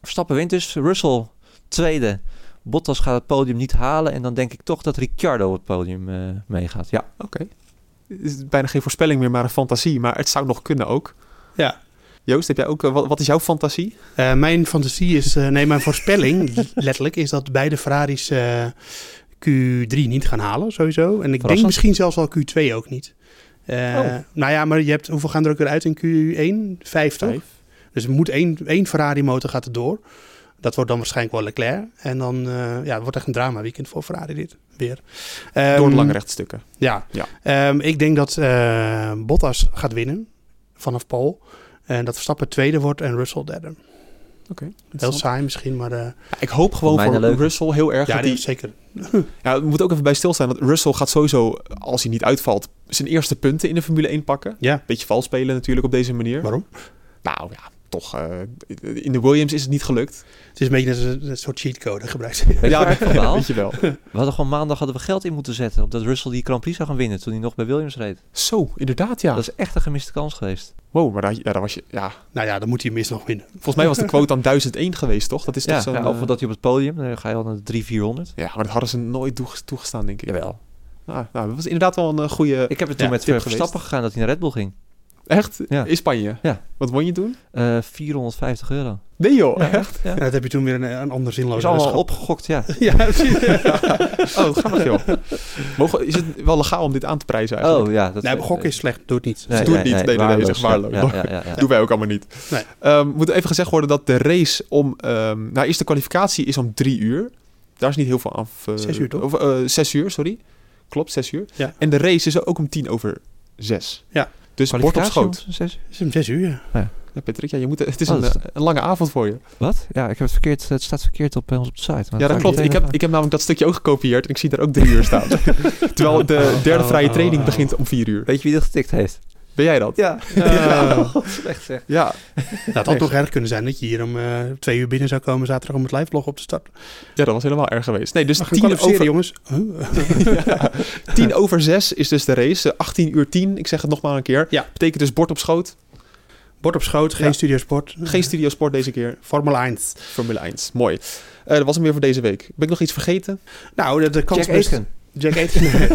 Verstappen wint dus. Russell tweede. Bottas gaat het podium niet halen. En dan denk ik toch dat Ricciardo het podium eh, meegaat. Ja. Het is bijna geen voorspelling meer, maar een fantasie. Maar het zou nog kunnen ook. Ja. Joost, heb jij ook, eh, wat, wat is jouw fantasie? eh, mijn fantasie is... eh, nee, mijn voorspelling letterlijk is dat beide Ferraris eh, Q3 niet gaan halen sowieso. En ik denk Verrassend. misschien zelfs al Q2 ook niet. Eh, Oh. Nou ja, maar je hebt, hoeveel gaan er ook weer uit in Q1? Vijf toch? Vijf. Dus er moet één, één Ferrari motor gaat er door. Dat wordt dan waarschijnlijk wel Leclerc. En dan eh, ja, het wordt echt een drama weekend voor Ferrari dit weer. Door de Ehm, lange rechtstukken. Ja. Ja. Ehm, ik denk dat eh, Bottas gaat winnen vanaf Paul. En dat Verstappen tweede wordt en Russell derde. Heel saai misschien, maar eh, Ja, Ik hoop gewoon Voor voor mij een leuk. Russell heel erg ja, dat hij die, zeker. Ja, we moeten ook even bij stilstaan. Want Russell gaat sowieso, als hij niet uitvalt, zijn eerste punten in de Formule 1 pakken. Ja. Beetje vals spelen natuurlijk op deze manier. Waarom? Nou ja, toch. eh, in de Williams is het niet gelukt. Het is een beetje net als een, een soort cheatcode gebruikt. Weet je ja, waar ik van baal? weet je wel. We hadden gewoon maandag hadden we geld in moeten zetten op dat Russell die Grand Prix zou gaan winnen toen hij nog bij Williams reed. Zo, inderdaad ja. Dat is echt een gemiste kans geweest. Wow, maar daar, ja, daar was je... Ja, nou ja, dan moet hij mis nog winnen. volgens mij was de quote dan 1001 geweest, toch? Dat is Ja, toch zo'n... ja, eh, of dat hij op het podium, dan ga je al naar de 3400. ja, maar dat hadden ze nooit toege- toegestaan, denk ik. Jawel. Ah, nou, dat was inderdaad wel een eh, goede... Ik heb het toen Ja, met tip Verstappen gegaan dat hij naar Red Bull ging. Echt? Ja. In Spanje? Ja. Wat won je toen? Eh, 450 euro. Nee joh, Ja. echt? Ja. En dat heb je toen weer een, een ander Dat Oh, is zinloos allemaal opgegokt, ja. Ja, precies. Oh, grappig joh. Mogen, is het wel legaal om dit aan te prijzen eigenlijk? Oh ja. Dat, nee, gokken is slecht. Doe het niet. Ze doen het niet. Nee, nee, nee, zeg waardeloos. Ja, ja, ja, ja. Doen wij ook allemaal niet. Nee. Ehm, moet even gezegd worden dat de race om... ehm nou, eerst de kwalificatie is om drie uur. Daar is niet heel veel af... eh, Zes uur, toch? Of, eh, zes uur, sorry. Klopt, zes uur. Ja. En de race is ook om tien over zes. Ja. Dus bord op schoot. Kwalificatie om zes- Het is om zes uur. ja. Ja, Patrick, ja, je moet, het is Oh, een, dat is- eh, een lange avond voor je. Wat? Ja, ik heb het verkeerd. eh, Het staat verkeerd op bij ons op de site. maar ja, ga dat ik klopt. meteen Ik heb, even- ik heb namelijk dat stukje ook gekopieerd en ik zie daar ook drie uur staan. Terwijl de Oh. derde vrije training begint om vier uur. Weet je wie dat getikt heeft? Ben jij dat? Ja. Ja. Slecht zeg. Ja. Nou, het had toch erg kunnen zijn dat je hier om eh, twee uur binnen zou komen zaterdag om het liveblog op te starten. ja, dat was helemaal erg geweest. Nee, dus We gaan tien kwalificeren, over, jongens. Huh? Ja. 10 over 6 is dus de race. Eh, 18 uur 10, ik zeg het nog maar een keer. Ja. Betekent dus bord op schoot. Bord op schoot, geen Ja. studiosport. Geen studiosport deze keer. Formule 1. Formule 1. Mooi. Eh, dat was hem weer voor deze week. Ben ik nog iets vergeten? Nou, de, de kans Jack best- Aitken. Jack Aitken.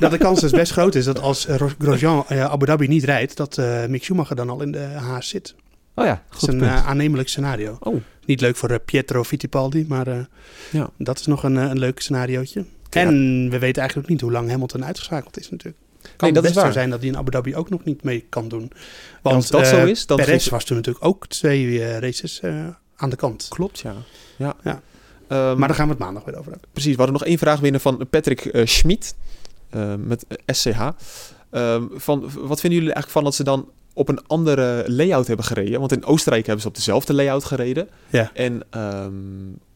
dat de kans dus best groot is dat als eh, Ro- Grosjean eh, Abu Dhabi niet rijdt, dat eh, Mick Schumacher dan al in de haas zit. Oh ja, Dat goed is een punt. eh, aannemelijk scenario. Oh. Niet leuk voor eh, Pietro Fittipaldi, maar eh, Ja. dat is nog een, eh, een leuk scenariootje. En we weten eigenlijk ook niet hoe lang Hamilton uitgeschakeld is natuurlijk. Kan dat is best zo waar. zijn dat hij in Abu Dhabi ook nog niet mee kan doen. En Want als dat eh, zo is, dan Perez geeft- was toen natuurlijk ook twee eh, races eh, aan de kant. Klopt, ja. ja. Ja. Ehm, Maar daar gaan we het maandag weer over hebben. Precies, we hadden nog één vraag binnen van Patrick eh, Schmid. eh, met eh, SCH. Ehm, van, wat vinden jullie eigenlijk van dat ze dan op een andere layout hebben gereden? Want in Oostenrijk hebben ze op dezelfde layout gereden. Ja. En ehm,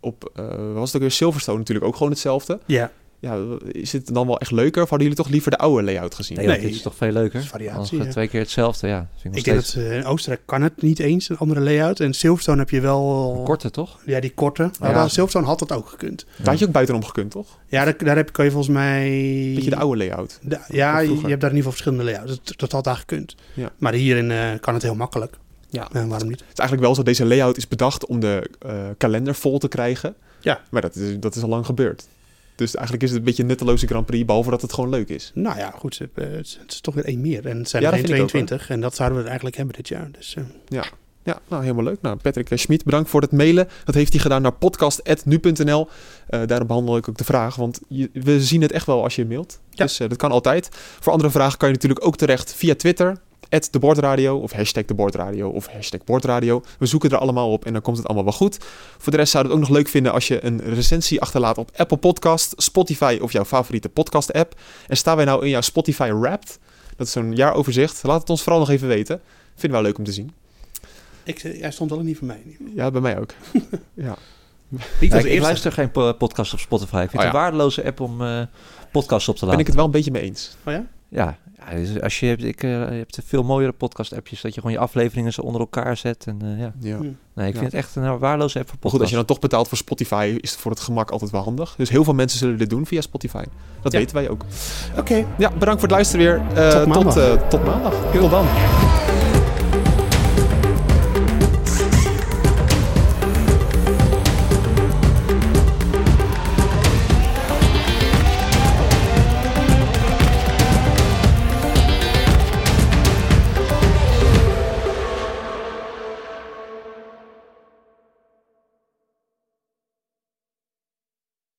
op, eh, was het ook weer Silverstone natuurlijk ook gewoon hetzelfde. Ja, Ja, is het dan wel echt leuker? Of hadden jullie toch liever de oude layout gezien? Nee, joh, Nee, dit is toch veel leuker? is variatie, Als je ja. Twee keer hetzelfde, ja. Vind ik nog ik denk steeds dat eh, in Oostenrijk kan het niet eens, een andere layout. En Silverstone heb je wel... Oh. korter, toch? Ja, die korte. Maar ja. Silverstone had dat ook gekund. Daar had je ook buitenom gekund, toch? Ja, daar, daar heb, kan je volgens mij... Beetje de oude layout. Da- ja, Van je vroeger. hebt daar in ieder geval verschillende layouts. Dat, dat had daar gekund. Ja. Maar hierin eh, kan het heel makkelijk. Ja. En waarom niet? Het is eigenlijk wel zo, deze layout is bedacht om de eh, kalender vol te krijgen. Ja. Maar dat is, dat is al lang gebeurd. Dus eigenlijk is het een beetje een nutteloze Grand Prix, behalve dat het gewoon leuk is. Nou ja, goed. ze- eh, Het is, het is toch weer één meer. En het zijn Ja, er dat vind geen ik ook, 22. En dat zouden we er eigenlijk hebben dit jaar. Dus eh, Ja, nou helemaal leuk. Nou, Patrick eh, Schmid, bedankt voor het mailen. Dat heeft hij gedaan naar podcast.nu.nl. Eh daarom behandel ik ook de vraag, want je- we zien het echt wel als je mailt. Ja. Dus eh, dat kan altijd. Voor andere vragen kan je natuurlijk ook terecht via Twitter. @debordradio of hashtag de Bordradio of hashtag Bordradio. We zoeken er allemaal op en dan komt het allemaal wel goed. Voor de rest zouden we het ook nog leuk vinden als je een recensie achterlaat op Apple Podcast, Spotify of jouw favoriete podcast app. En staan wij nou in jouw Spotify Wrapped? Dat is zo'n jaaroverzicht. Laat het ons vooral nog even weten. Vinden we wel leuk om te zien. ik, hij stond wel niet voor mij. Ja, bij mij ook. Niet Ja, als ik, ik eerste. luister geen po- podcast op Spotify. Ik Oh, vind het ja. een waardeloze app om eh, podcasts op te ben laden. ik het wel een beetje mee eens. Oh ja? Ja, ja, dus als je, hebt, ik, eh, je hebt veel mooiere podcast-appjes. Dat je gewoon je afleveringen zo onder elkaar zet. En, eh, ja. Ja. Hm. Nee, ik Ja. vind het echt een eh, waardeloze app voor Goed, als podcasts. je dan toch betaalt voor Spotify, is het voor het gemak altijd wel handig. Dus heel veel mensen zullen dit doen via Spotify. Dat Ja. weten wij ook. Oké. Ja, bedankt voor het luisteren weer. Eh, Tot maandag. Tot, eh, tot maandag. Tot dan.